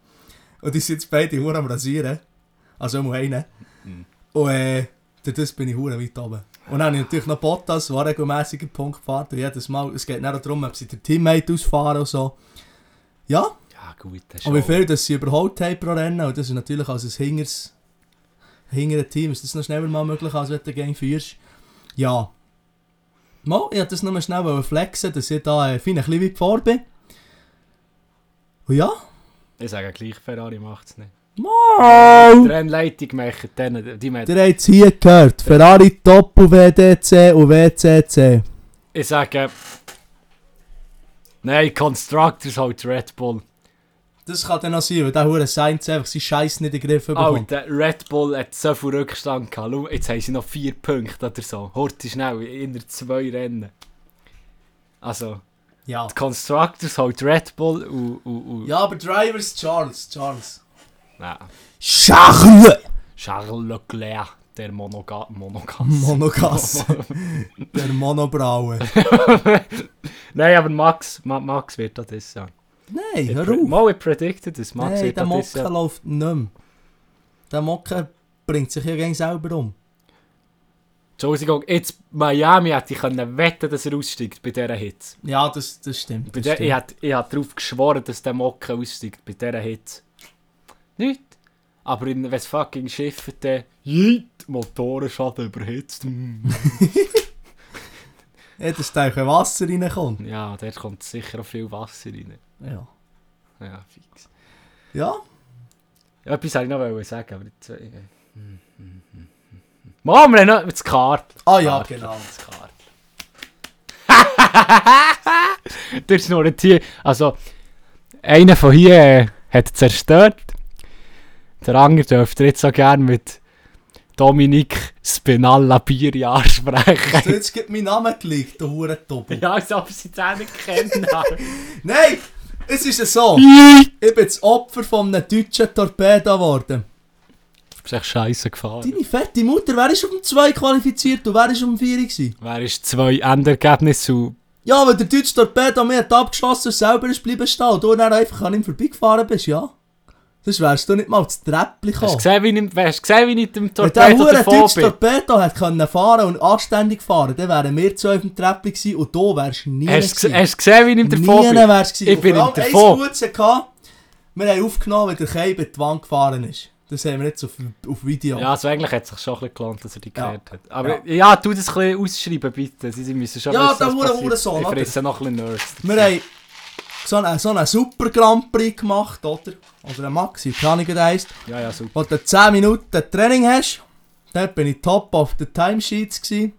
Speaker 1: Und die sind jetzt beide hure am Rasieren. Also nur einen.
Speaker 2: Mhm.
Speaker 1: Und äh, durch das bin ich hure weit oben. Und dann habe ich natürlich noch Bottas, der regelmässig einen Punkt fährt. Und jedes Mal, es geht nicht auch darum, ob sie den Teammate ausfahren und so. Ja,
Speaker 2: Ja, gut, das
Speaker 1: und wie
Speaker 2: schon.
Speaker 1: viel dass sie überholt haben pro Rennen, und das ist natürlich als ein hingers, hingeres Team, ist das noch schneller mal möglich, als wenn du gegen führst. Ja. Mal, ich wollte das nur schnell wollen flexen, dass ich da äh, fein ein bisschen weit vor bin. Und ja,
Speaker 2: Ich sage gleich, Ferrari macht es nicht.
Speaker 1: mal!
Speaker 2: Die Rennleitung machen denen, die machen.
Speaker 1: Ihr habt es hier gehört, Ferrari Top und WDC und WCC.
Speaker 2: Ich sage... Nein, Constructors halt Red Bull.
Speaker 1: Das kann dann noch sein, weil der Hure Sainz einfach seinen Scheiß nicht in den Griff bekommt.
Speaker 2: Alter, eh, Red Bull hat so viel Rückstand gehabt. Schau, Jetzt haben sie noch vier Punkte oder so. Horti schnell, inner zwei Rennen. Also,
Speaker 1: Ja.
Speaker 2: die Constructors halt Red Bull und... und, und
Speaker 1: Ja, aber Drivers Charles, Charles.
Speaker 2: Nein,
Speaker 1: Charles!
Speaker 2: Nou, Charles Leclerc, der Monoga Monogas.
Speaker 1: Monogas. Der Monobraue.
Speaker 2: Nein, aber Max, Ma Max wird das dieses Jahr.
Speaker 1: Nein,
Speaker 2: Ich
Speaker 1: hör
Speaker 2: pre-
Speaker 1: auf.
Speaker 2: Mal, ich predicted das, Max
Speaker 1: Nein,
Speaker 2: wird
Speaker 1: der
Speaker 2: das dieses
Speaker 1: Mocke
Speaker 2: Jahr.
Speaker 1: läuft nicht mehr. Der Mocke bringt sich ja gegen selber um.
Speaker 2: Entschuldigung, jetzt Miami hätte ich können wetten, dass er aussteigt bei dieser Hitze.
Speaker 1: Ja, das, das stimmt.
Speaker 2: Bei
Speaker 1: Das
Speaker 2: der, ich
Speaker 1: stimmt.
Speaker 2: hat ich hat darauf geschworen, dass der Mocke aussteigt bei dieser Hitze. Nicht. Aber in wenn's fucking Schiffen der Jeit, Motorenschaden überhitzt. Mm.
Speaker 1: Ja, dass da kein Wasser reinkommt.
Speaker 2: ja, dort kommt sicher auch viel Wasser rein.
Speaker 1: Ja.
Speaker 2: Ja, fix.
Speaker 1: Ja,
Speaker 2: Etwas wollte ich noch wollen sagen, aber jetzt... äh, hm, hm, hm, hm. Mann, wir haben noch das Kart.
Speaker 1: Ah ja, genau.
Speaker 2: Das Kart. Der ist noch ein Tier. Also, einer von hier äh, hat zerstört. Der andere dürfte jetzt so gerne mit Dominik Spinalla Bierjahr
Speaker 1: Du,
Speaker 2: sprechen.
Speaker 1: jetzt gibt mein Name gelegt, du Hurentoppel.
Speaker 2: ja, als ob sie es auch nicht kennen.
Speaker 1: Nein, es ist ja so. Ich bin das Opfer von einem deutschen Torpedo geworden.
Speaker 2: Ist echt scheiße gefahren.
Speaker 1: Deine fette Mutter, wer ist auf dem 2 qualifiziert und wer ist auf dem 4 gewesen?
Speaker 2: Wer ist zwei Endergebnisse zu
Speaker 1: Ja, weil der deutsche Torpedo mir hat abgeschossen und selber ist bleiben stehen und du dann einfach an ihm vorbeigefahren bist, ja? Dus Sonst wärst du nicht mal das Treppchen
Speaker 2: Hast du
Speaker 1: gekommen.
Speaker 2: gesehen, wie ich, hast du gesehen, wie ich Oh. mit dem
Speaker 1: Wenn der
Speaker 2: Torpedo
Speaker 1: hure
Speaker 2: davon
Speaker 1: deutsche
Speaker 2: bin?
Speaker 1: Torpedo hätte können fahren und anständig fahren, dann wären wir zwei auf dem Treppli gewesen und du wärst nie
Speaker 2: Hast du
Speaker 1: gewesen.
Speaker 2: gese- hast du gesehen, wie ich
Speaker 1: Nie
Speaker 2: davon bin?
Speaker 1: wärst du gewesen.
Speaker 2: Ich bin
Speaker 1: Und vor
Speaker 2: ihm
Speaker 1: allem
Speaker 2: davon.
Speaker 1: eins Gutes hatte, wir haben aufgenommen, wenn der Keib in die Wand gefahren ist. Das haben wir jetzt auf, auf Video.
Speaker 2: Ja, also eigentlich hat es sich schon ein bisschen gelohnt, dass er die
Speaker 1: Ja.
Speaker 2: geklärt hat. Aber ja, tu das ein bisschen ausschreiben, bitte. Sie, sie müssen schon
Speaker 1: Ja,
Speaker 2: wissen,
Speaker 1: der
Speaker 2: was
Speaker 1: Hure-
Speaker 2: passiert.
Speaker 1: Hurensohn,
Speaker 2: Ich
Speaker 1: oder?
Speaker 2: fresse noch ein bisschen Nerds.
Speaker 1: Wir haben so einen, so einen super Grand Prix gemacht, oder? Oder einen Maxi, keine Ahnung, wie der heisst.
Speaker 2: Ja, ja, super.
Speaker 1: wo du 10 Minuten Training hast. Dort bin ich top auf den Timesheets. gsi.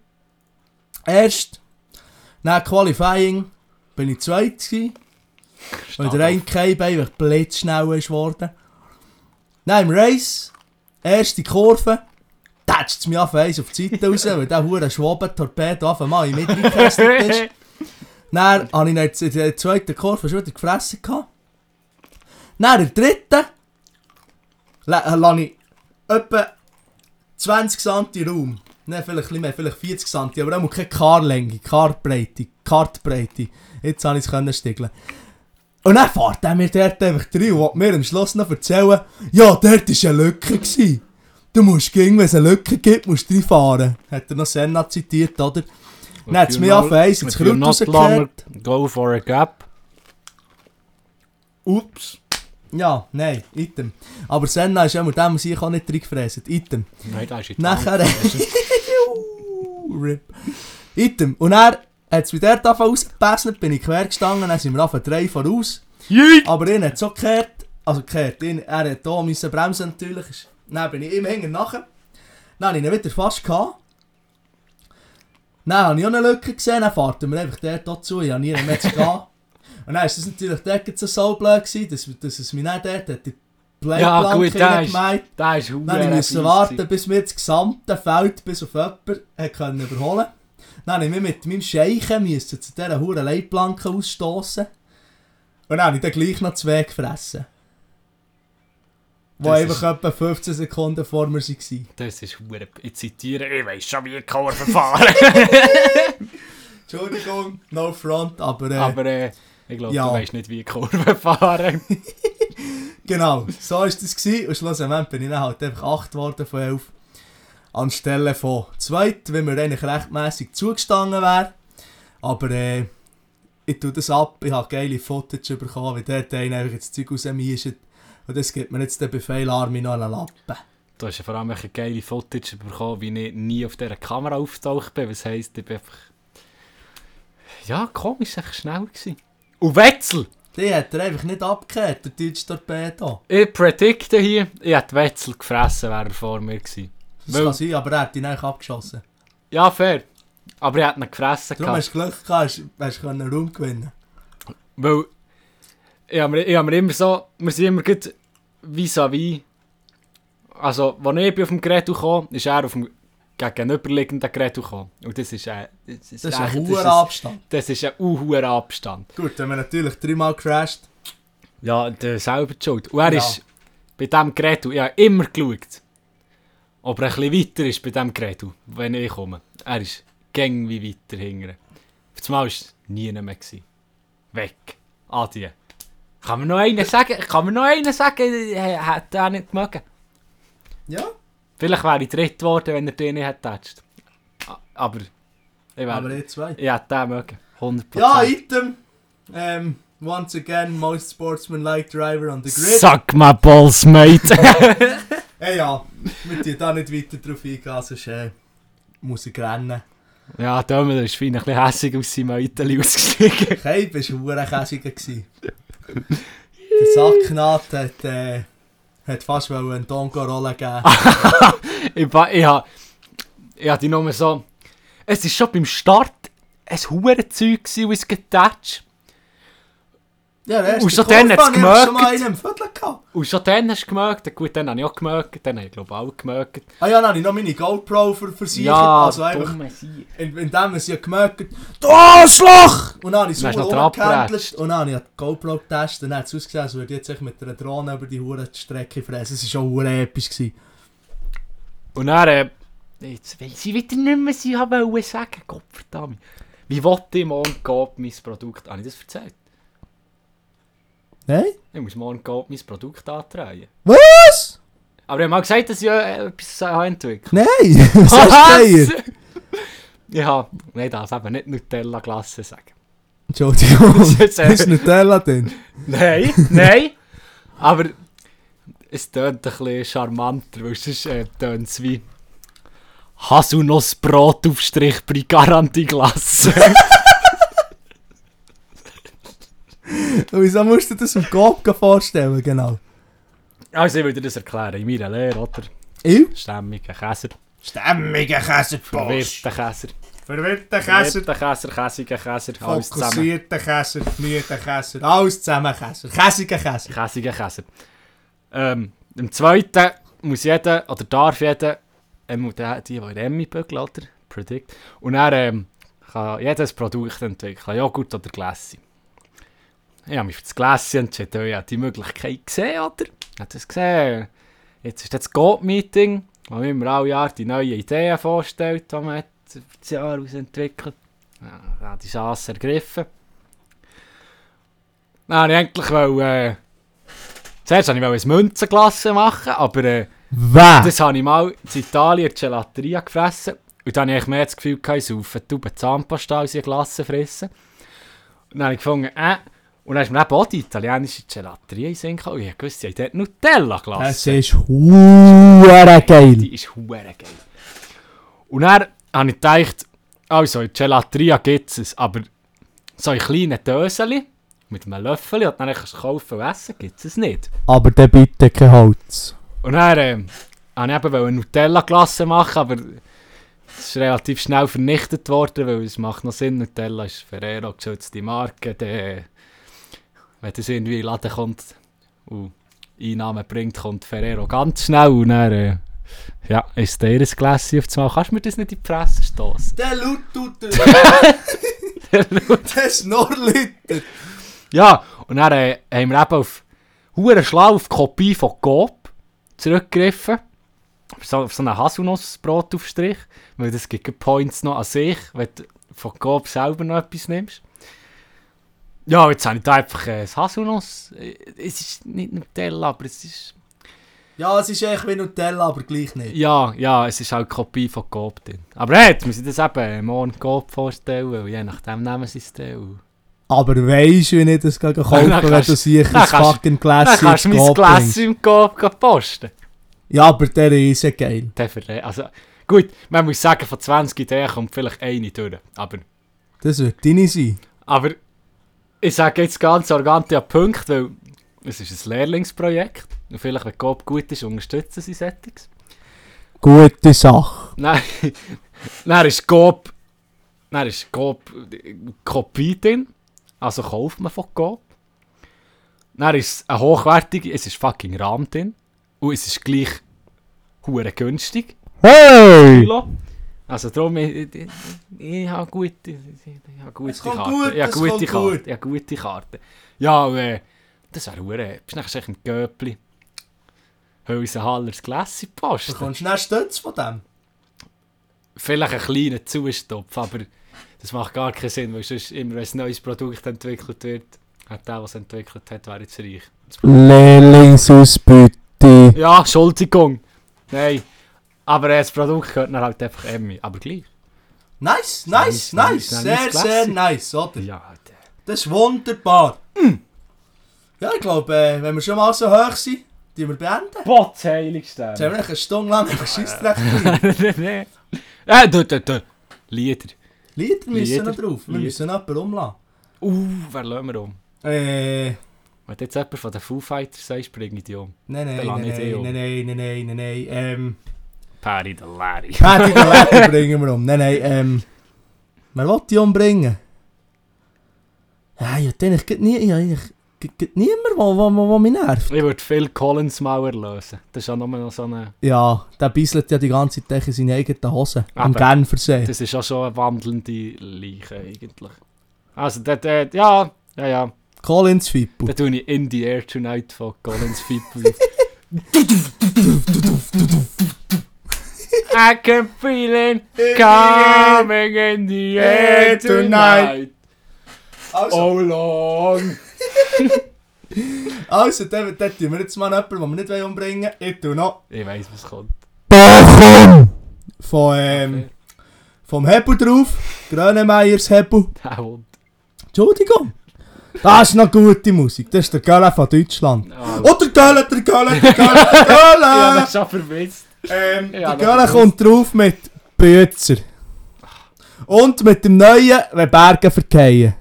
Speaker 1: Erst, nach Qualifying, bin ich zweit. gsi, Weil der eine Keib einfach blitzschnell ist worden. Dann im Race, erste Kurve, tätscht es mich auf eins auf die Seite raus, weil der hure Schwaben-Torpedo auf einmal in die Mitte gekestet ist. Dann hatte ich ihn jetzt in der zweiten Kurve schon wieder gefressen. gehabt. Dann in der dritten lasse ich etwa 20 cm Raum. Nein, vielleicht ein bisschen mehr, vielleicht 40 cm, aber auch keine Karlänge, Kartbreite, Kartbreite. Jetzt konnte ich es können stiegeln. Und dann fährt er mir dort einfach rein und will mir am Schluss noch erzählen, ja, dort war eine Lücke. Gewesen. Du musst gehen, wenn es eine Lücke gibt, musst du reinfahren. Hat er noch Senna zitiert, oder? Dann hat es
Speaker 2: nou-
Speaker 1: mir auf eins ins Kraut rausgekehrt.
Speaker 2: Go for a gap.
Speaker 1: Ups. Ja, nein, item. Aber Senna ist ja mit dem sich auch nicht reingefräst. Item.
Speaker 2: Nein, da ist jetzt
Speaker 1: Nachher. Rip. Item. Und er hat es bei der Tafel rausgepasst, bin ich quer gestanden, dann sind wir auf drei voraus. Aber ihn hat so gekehrt, also gekehrt, ihn, er hat hier müssen bremsen natürlich. Ist- Dann bin ich ihm hinten nachher. Dann habe ich ihn wieder fast gehabt. Dann habe ich auch eine Lücke gesehen, dann fährt er mir einfach der dort zu, ich habe nie mehr zu gehen. Und dann war es natürlich dort gerade so saublöd, gewesen, dass, dass es mich nicht dort hat, die
Speaker 2: Ja,
Speaker 1: Playplanke
Speaker 2: gut, der ist-
Speaker 1: hineingemeint.
Speaker 2: Da ist Huren.
Speaker 1: Dann musste ich warten, bis mir das gesamte Feld bis auf jemanden hat können überholen Dann musste ich mich mit meinem Scheichen müssen zu dieser hohen Leitplanke ausstoßen. Und dann habe ich dann gleich noch zwei gefressen. Wo
Speaker 2: Das
Speaker 1: einfach
Speaker 2: ist-
Speaker 1: etwa 15 Sekunden vor mir waren.
Speaker 2: Das ist Huren. Ich zitiere, ich weiß schon, wie ich Kauer verfahren.
Speaker 1: Entschuldigung, no front, aber, äh,
Speaker 2: Aber äh, ich glaube,
Speaker 1: Ja.
Speaker 2: du weißt nicht, wie ich Kurven fahren.
Speaker 1: genau, so war das. Gewesen. Und schlussendlich bin ich dann halt einfach 8 geworden von 11. Anstelle von 2, wenn mir eigentlich rechtmäßig zugestanden wäre. Aber äh, ich tue das ab, ich habe geile Footage bekommen, wie der Teil einfach das Zeug rausmischt. Und das gibt mir jetzt den Befehl Armin noch einen Lappen.
Speaker 2: Du hast ja vor allem eine geile Footage bekommen, wie ich nie auf dieser Kamera auftaucht bin. Was heisst, ich bin einfach... Ja, komisch, echt schnell gewesen. Und Wetzel!
Speaker 1: Die hat er einfach nicht abgekehrt, der deutsche Torpedo.
Speaker 2: Ich predikte hier, ich hätte Wetzel gefressen, wäre er vor mir gewesen.
Speaker 1: Das
Speaker 2: Weil-
Speaker 1: kann sein, aber er hat ihn eigentlich abgeschossen.
Speaker 2: Ja, fair. Aber ich hätte ihn gefressen
Speaker 1: Darum
Speaker 2: gehabt.
Speaker 1: hast du Glück gehabt, hast- hast du einen Raum gewinnen
Speaker 2: Weil... Ich habe mir, ich hab mir immer so... Wir sind immer gut vis-à-vis. Also, als ich bin auf dem Gerät gekommen ist er auf dem gegenüberliegenden Gerät gekommen. Und das ist... Äh, das ist,
Speaker 1: Das ist
Speaker 2: echt-
Speaker 1: ein
Speaker 2: das
Speaker 1: hoher Abstand.
Speaker 2: Das ist ein unhoher Abstand.
Speaker 1: Gut, wenn man natürlich dreimal crasht,
Speaker 2: Ja, der selber die Schuld. Und er
Speaker 1: Ja.
Speaker 2: ist bei diesem Gerät, ich habe immer geschaut, ob er ein bisschen weiter ist bei diesem Gerät, wenn ich komme. Er ist gäng wie weiter hinten. Auf einmal war es nie mehr. Gewesen. Weg. Adi. Kann mir noch einen sagen, kann mir noch einen sagen, er hätte er nicht gemogen.
Speaker 1: Ja.
Speaker 2: Vielleicht wäre ich dritt geworden, wenn er den nicht hätte getatscht. A- Aber, ich wäre,
Speaker 1: aber eh zwei.
Speaker 2: ich hätte den mögen. 100%.
Speaker 1: Ja, item. Ähm, once again, most sportsman-like driver on the grid.
Speaker 2: Suck my balls, mate.
Speaker 1: Hey, ja, wir tun da nicht weiter drauf eingehen, sonst äh, muss ich rennen.
Speaker 2: Ja, Dömmel ist fein ein bisschen hässig aus seinem Mäuteli ausgestiegen.
Speaker 1: Keib war hurenkäsiger. gewesen. Der Sacknaht hat, äh, hat fast wollen einen Tongo-Rolle geben.
Speaker 2: Ah, ich ba- ich habe ich ha die Nummer so... Es war schon beim Start ein Hurenzeug, gewesen, und es getatscht.
Speaker 1: Ja, der erste
Speaker 2: und schon
Speaker 1: Kurve
Speaker 2: dann hat's
Speaker 1: habe ich einfach schon mal
Speaker 2: gemerkt.
Speaker 1: einen im Viertel gehabt.
Speaker 2: Und schon dann hast du gemerkt, gut, dann habe ich auch gemerkt, dann habe ich glaube auch gemerkt.
Speaker 1: Ah ja, dann habe ich noch meine GoPro ver versichert.
Speaker 2: Ja,
Speaker 1: also einfach,
Speaker 2: dumme Sieg.
Speaker 1: in- indem ich sie gemerkt habe,
Speaker 2: Du Arschloch!
Speaker 1: Und dann habe ich
Speaker 2: Dann hast du
Speaker 1: sauer
Speaker 2: noch dran
Speaker 1: rumgehandelt
Speaker 2: gepratscht.
Speaker 1: und dann habe ich Oh, nou, die Nou, GoPro getestet und dann hat es ausgesehen, als würde ich jetzt echt mit einer Drohne über die Hure die Strecke fressen. Es war schon hure episch. Gewesen.
Speaker 2: Und dann... Äh, jetzt will sie wieder nicht mehr sie haben wollen sagen, Gottverdammt. Wie wollte ich morgen Coop mein Produkt... Habe ich das erzählt?
Speaker 1: Nein?
Speaker 2: Ich muss morgen Coop mein Produkt antreiben.
Speaker 1: Was?
Speaker 2: Aber ich habe mal gesagt, dass ich äh, etwas äh, entwickelt
Speaker 1: Nein! Was hast du hier?
Speaker 2: Ja, nee, darf eben nicht Nutella Glasse sagen.
Speaker 1: Entschuldigung.
Speaker 2: Das ist, äh,
Speaker 1: Ist Nutella denn?
Speaker 2: Nein, nein. Aber es tönt ein bisschen charmanter, weil sonst äh, tönt es wie Haselnussbrot auf Strich bei Garantie Glasse.
Speaker 1: Und Oh, wieso dus musst du dir das im Kopf vorstellen? Genau.
Speaker 2: also ich würde das erklären, in meiner Lehre, oder?
Speaker 1: Ich?
Speaker 2: Stämmiger Käser,
Speaker 6: Stämmiger Käsepost.
Speaker 2: verwirrter Käser,
Speaker 6: Verwirrter Käser.
Speaker 2: verwirrter Käser, käsiger Käser, alles zusammen.
Speaker 6: Fokussierter Käser.
Speaker 1: Müde Käser. Alles zusammen Käser. Käsiger Käser.
Speaker 2: Käsiger Käser. Ähm, im zweiten muss jeder, oder darf jeder, ähm, die, die, die in Emmy bügeln, oder? Predict. Und dann ähm, kann jeder ein Produkt entwickeln, Joghurt oder Gläschen. Ich habe mich für das Gläschen entschieden, weil ich habe die Möglichkeit gesehen, oder? Ich habe das gesehen. Jetzt ist das Goat-Meeting, wo man immer alle Jahr die neuen Ideen vorstellt, die man hat über das Jahr heraus entwickelt. Ja, ich habe die Chance ergriffen. Dann wollte ich endlich... Wollte, äh, Zuerst wollte ich ein Münzenglasse machen, aber äh,
Speaker 1: Wer?
Speaker 2: das habe ich mal in Italien in der Gelateria gefressen. Und dann hatte ich mehr das Gefühl, gehabt, ich saufe eine Tube Zahnpasta als ich eine Glasse fressen. Und dann habe ich gefunden, äh, Und dann ist mir eben auch die italienische Gelaterie in den Sinn gekommen. Und Ich wusste, die haben dort Nutella
Speaker 1: Das
Speaker 2: gelassen.
Speaker 1: ist hure geil.
Speaker 2: Die ist hure geil. Und dann habe ich gedacht, also in Gelateria gibt es, aber so in kleinen Döseli mit einem Löffel und dann kannst du kaufen und essen, gibt es nicht.
Speaker 1: Aber dann bitte kein Holz.
Speaker 2: Und dann ähm, wollte ich eben wollte Nutella-Glasse machen, aber es ist relativ schnell vernichtet worden, weil es macht noch Sinn, Nutella ist Ferrero geschützte Marke, der, wenn das irgendwie in den Laden kommt und Einnahmen bringt, kommt Ferrero ganz schnell und dann äh, ja, ist der ein Gläschen auf das Mal. Kannst du mir das nicht in die Presse stoßen?
Speaker 1: Der Laut tut er. Der Schnorrlüter.
Speaker 2: Ja, und dann äh, haben wir eben auf hure schlau auf die Kopie von Coop zurückgegriffen. Auf so, auf so einen Haselnussbrotaufstrich, weil das gibt gerade Points noch an sich, wenn du von Coop selber noch etwas nimmst. Ja, jetzt habe ich da einfach äh, das Haselnuss. Äh, Es ist nicht Nutella, aber es ist...
Speaker 1: Ja, es ist echt wie Nutella, aber gleich nicht.
Speaker 2: Ja, ja, es ist halt die Kopie von Coop drin. Aber hey, jetzt müssen wir das eben äh, morgen Coop vorstellen, weil je nachdem nehmen sie es dann. und-
Speaker 1: Aber weisst du, wie ich das kaufen
Speaker 2: Nein,
Speaker 1: kann,
Speaker 2: dann
Speaker 1: wenn
Speaker 2: kannst-
Speaker 1: du sicher
Speaker 2: dann
Speaker 1: ein
Speaker 2: kannst-
Speaker 1: fucking
Speaker 2: Dann
Speaker 1: Glas
Speaker 2: kannst du mein Glas im Coop posten.
Speaker 1: Ja, aber der ist ja geil.
Speaker 2: Der Verre also, gut, man muss sagen, von 20 Ideen kommt vielleicht eine durch. Aber,
Speaker 1: Das wird deine sein.
Speaker 2: aber ich sage jetzt ganz arrogant ja Punkt, weil es ist ein Lehrlingsprojekt. Und vielleicht, wenn Coop gut ist, unterstützen sie Settings.
Speaker 1: Gute Sache.
Speaker 2: Nein, dann ist Coop, dann ist Coop äh, Kopie drin. Also kauft man von Coop. Dann ist es eine hochwertige, es ist fucking Rahm drin. Und es ist gleich hure günstig.
Speaker 1: Hey!
Speaker 2: Kilo. Also darum, ich, ich, ich habe gute, ich habe gute
Speaker 1: Es kommt
Speaker 2: Karten.
Speaker 1: gut,
Speaker 2: ich habe
Speaker 1: es
Speaker 2: gute
Speaker 1: kommt
Speaker 2: Karten.
Speaker 1: gut.
Speaker 2: Ich habe gute Karten. Ja, und, äh, das wäre hure. Bist du nachher echt ein Göppli? Hölsenhallers Glässe
Speaker 1: Du
Speaker 2: passt.
Speaker 1: kommst schnell Stütz von dem.
Speaker 2: Vielleicht einen kleinen Zustopf, aber das macht gar keinen Sinn, weil sonst immer, wenn ein neues Produkt entwickelt wird, hat der, was entwickelt hat, wäre jetzt reich.
Speaker 1: Lehrlingsausbeute.
Speaker 2: Ja, Entschuldigung. Nein. Aber äh, das Produkt gehört dann halt einfach Emmy. Aber gleich.
Speaker 1: Nice, nice,
Speaker 2: Nice, nice,
Speaker 1: nice.
Speaker 2: nice,
Speaker 1: Sehr, sehr
Speaker 2: classic.
Speaker 1: nice, oder?
Speaker 2: Ja, der.
Speaker 1: Das ist wunderbar. Mm. Ja, ich glaube, äh, wenn wir schon mal so hoch sind, die wir beenden.
Speaker 2: Bottheiligste.
Speaker 1: Jetzt haben wir echt eine Stunde lang über Scheissdreck
Speaker 2: nee, nee. Äh, da, da, da. Lieder.
Speaker 1: Lieder müssen
Speaker 2: Lieder.
Speaker 1: noch drauf. Wir
Speaker 2: Lieder.
Speaker 1: müssen noch jemanden umlassen.
Speaker 2: Uh, wer lassen wir um?
Speaker 1: Äh,
Speaker 2: Wenn jetzt jemand von den Foo Fighters sagt, springe ich die um.
Speaker 1: nein, nein,
Speaker 2: Der lacht nicht eh
Speaker 1: nein,
Speaker 2: um.
Speaker 1: nein, nein, nein, nein, nein, nein, ähm...
Speaker 2: Perry the Larry.
Speaker 1: Patty den Lecker bringen wir um. Nein, nein, ähm... Wer will die umbringen? Ja, ich hab den, ich geht nie, ich, ich, ich geht niemand, wo, wo, wo, wo mich nervt.
Speaker 2: Ich würde Phil Collins mal erlösen. Das ist ja nur noch so eine...
Speaker 1: Ja, der bisselt ja die ganze Zeit in seine eigenen Hosen. Am
Speaker 2: Aber-
Speaker 1: Genfersee.
Speaker 2: Das ist ja schon eine wandelnde Leiche eigentlich. Also, der, der, ja, ja, ja.
Speaker 1: Collins Fippo.
Speaker 2: Da tue ich In the Air Tonight von Collins People. I can feel it coming in the air tonight.
Speaker 1: Also,
Speaker 2: Oh long.
Speaker 1: also, dann, dann tun wir jetzt mal jemanden, den wir nicht wollen umbringen wollen. Ich tu noch...
Speaker 2: Ich weiß, was kommt.
Speaker 1: Bochum! Von, ähm...
Speaker 2: Okay.
Speaker 1: Vom Hebel drauf. Grönemeyers Hebel.
Speaker 2: Der Hund.
Speaker 1: Entschuldigung. Das ist noch gute Musik. Das ist der Göller von Deutschland.
Speaker 2: Ah,
Speaker 1: Oh, der Göller, der Göller, der Göller,
Speaker 2: ja,
Speaker 1: der
Speaker 2: das ist schon vermisst.
Speaker 1: Göller. ähm,
Speaker 2: Ja,
Speaker 1: der
Speaker 2: das
Speaker 1: Göller
Speaker 2: ist-
Speaker 1: kommt drauf mit Bützer. Und mit dem neuen, wenn Berge verkehren.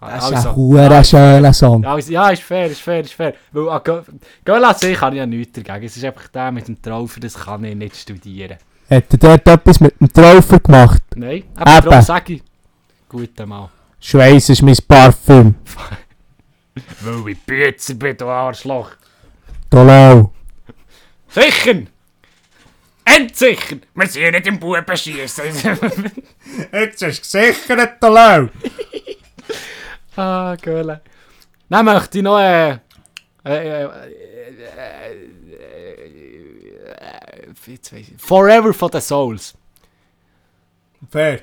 Speaker 1: Das ist ein
Speaker 2: ja,
Speaker 1: hure schöner Song.
Speaker 2: ja, ist- ja, ist fair, ist fair, ist fair. Weil an Go- Girl an sich kann ich ja nichts dagegen. Es ist einfach der mit dem Traufer, das kann ich nicht studieren.
Speaker 1: Hat er dort etwas mit dem Traufer gemacht?
Speaker 2: Nein, aber
Speaker 1: Eben.
Speaker 2: darum sage ich, guten Mal.
Speaker 1: Schweiß ist mein Parfüm.
Speaker 2: Weil ich Bützer bin, du Arschloch.
Speaker 1: Dolau.
Speaker 2: Sicher! Endsicher!
Speaker 7: Wir sind ja nicht im Buben schiessen.
Speaker 1: Jetzt ist gesichert, Dolau.
Speaker 2: Ah, geil. Dann möchte ich noch äh, äh, äh, äh, äh, jetzt weiss ich- Forever for the Souls.
Speaker 1: Fair.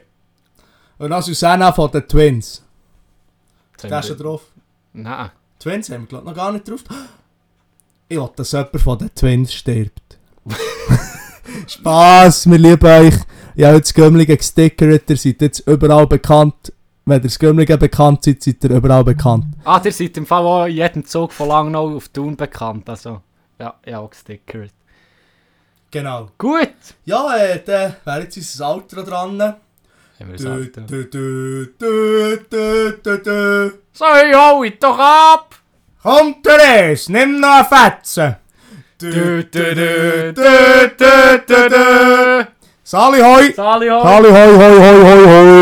Speaker 1: Und noch Susanna von den Twins. Der ist schon drauf.
Speaker 2: Nein.
Speaker 1: Twins haben wir glaub, noch gar nicht drauf. Ich will, dass jemand von den Twins stirbt. Spass, wir lieben euch. Ja, jetzt Gömmlinge gestickert, ihr seid jetzt überall bekannt. wenn ihr Skirmlinge bekannt seid, seid ihr überall bekannt.
Speaker 2: Ah, ihr seid im Fall auch in jedem Zug von Langnau auf Thun bekannt, also... Ja, ja, auch gestickert.
Speaker 1: Genau.
Speaker 2: Gut!
Speaker 1: Ja, äh, dann wäre jetzt unser Outro dran.
Speaker 2: Haben wir das
Speaker 1: Dö,
Speaker 2: Auto.
Speaker 1: dö, dö, dö, dö, dö, dö.
Speaker 2: So, holt doch ab!
Speaker 1: Komm, Therese, nimm noch eine Fetze. Dö,
Speaker 2: Dö, dö, dö,
Speaker 1: dö, dö, dö, dö. Sali, hoi.
Speaker 2: Sali,
Speaker 1: Sali, hoi, hoi, hoi, hoi, hoi.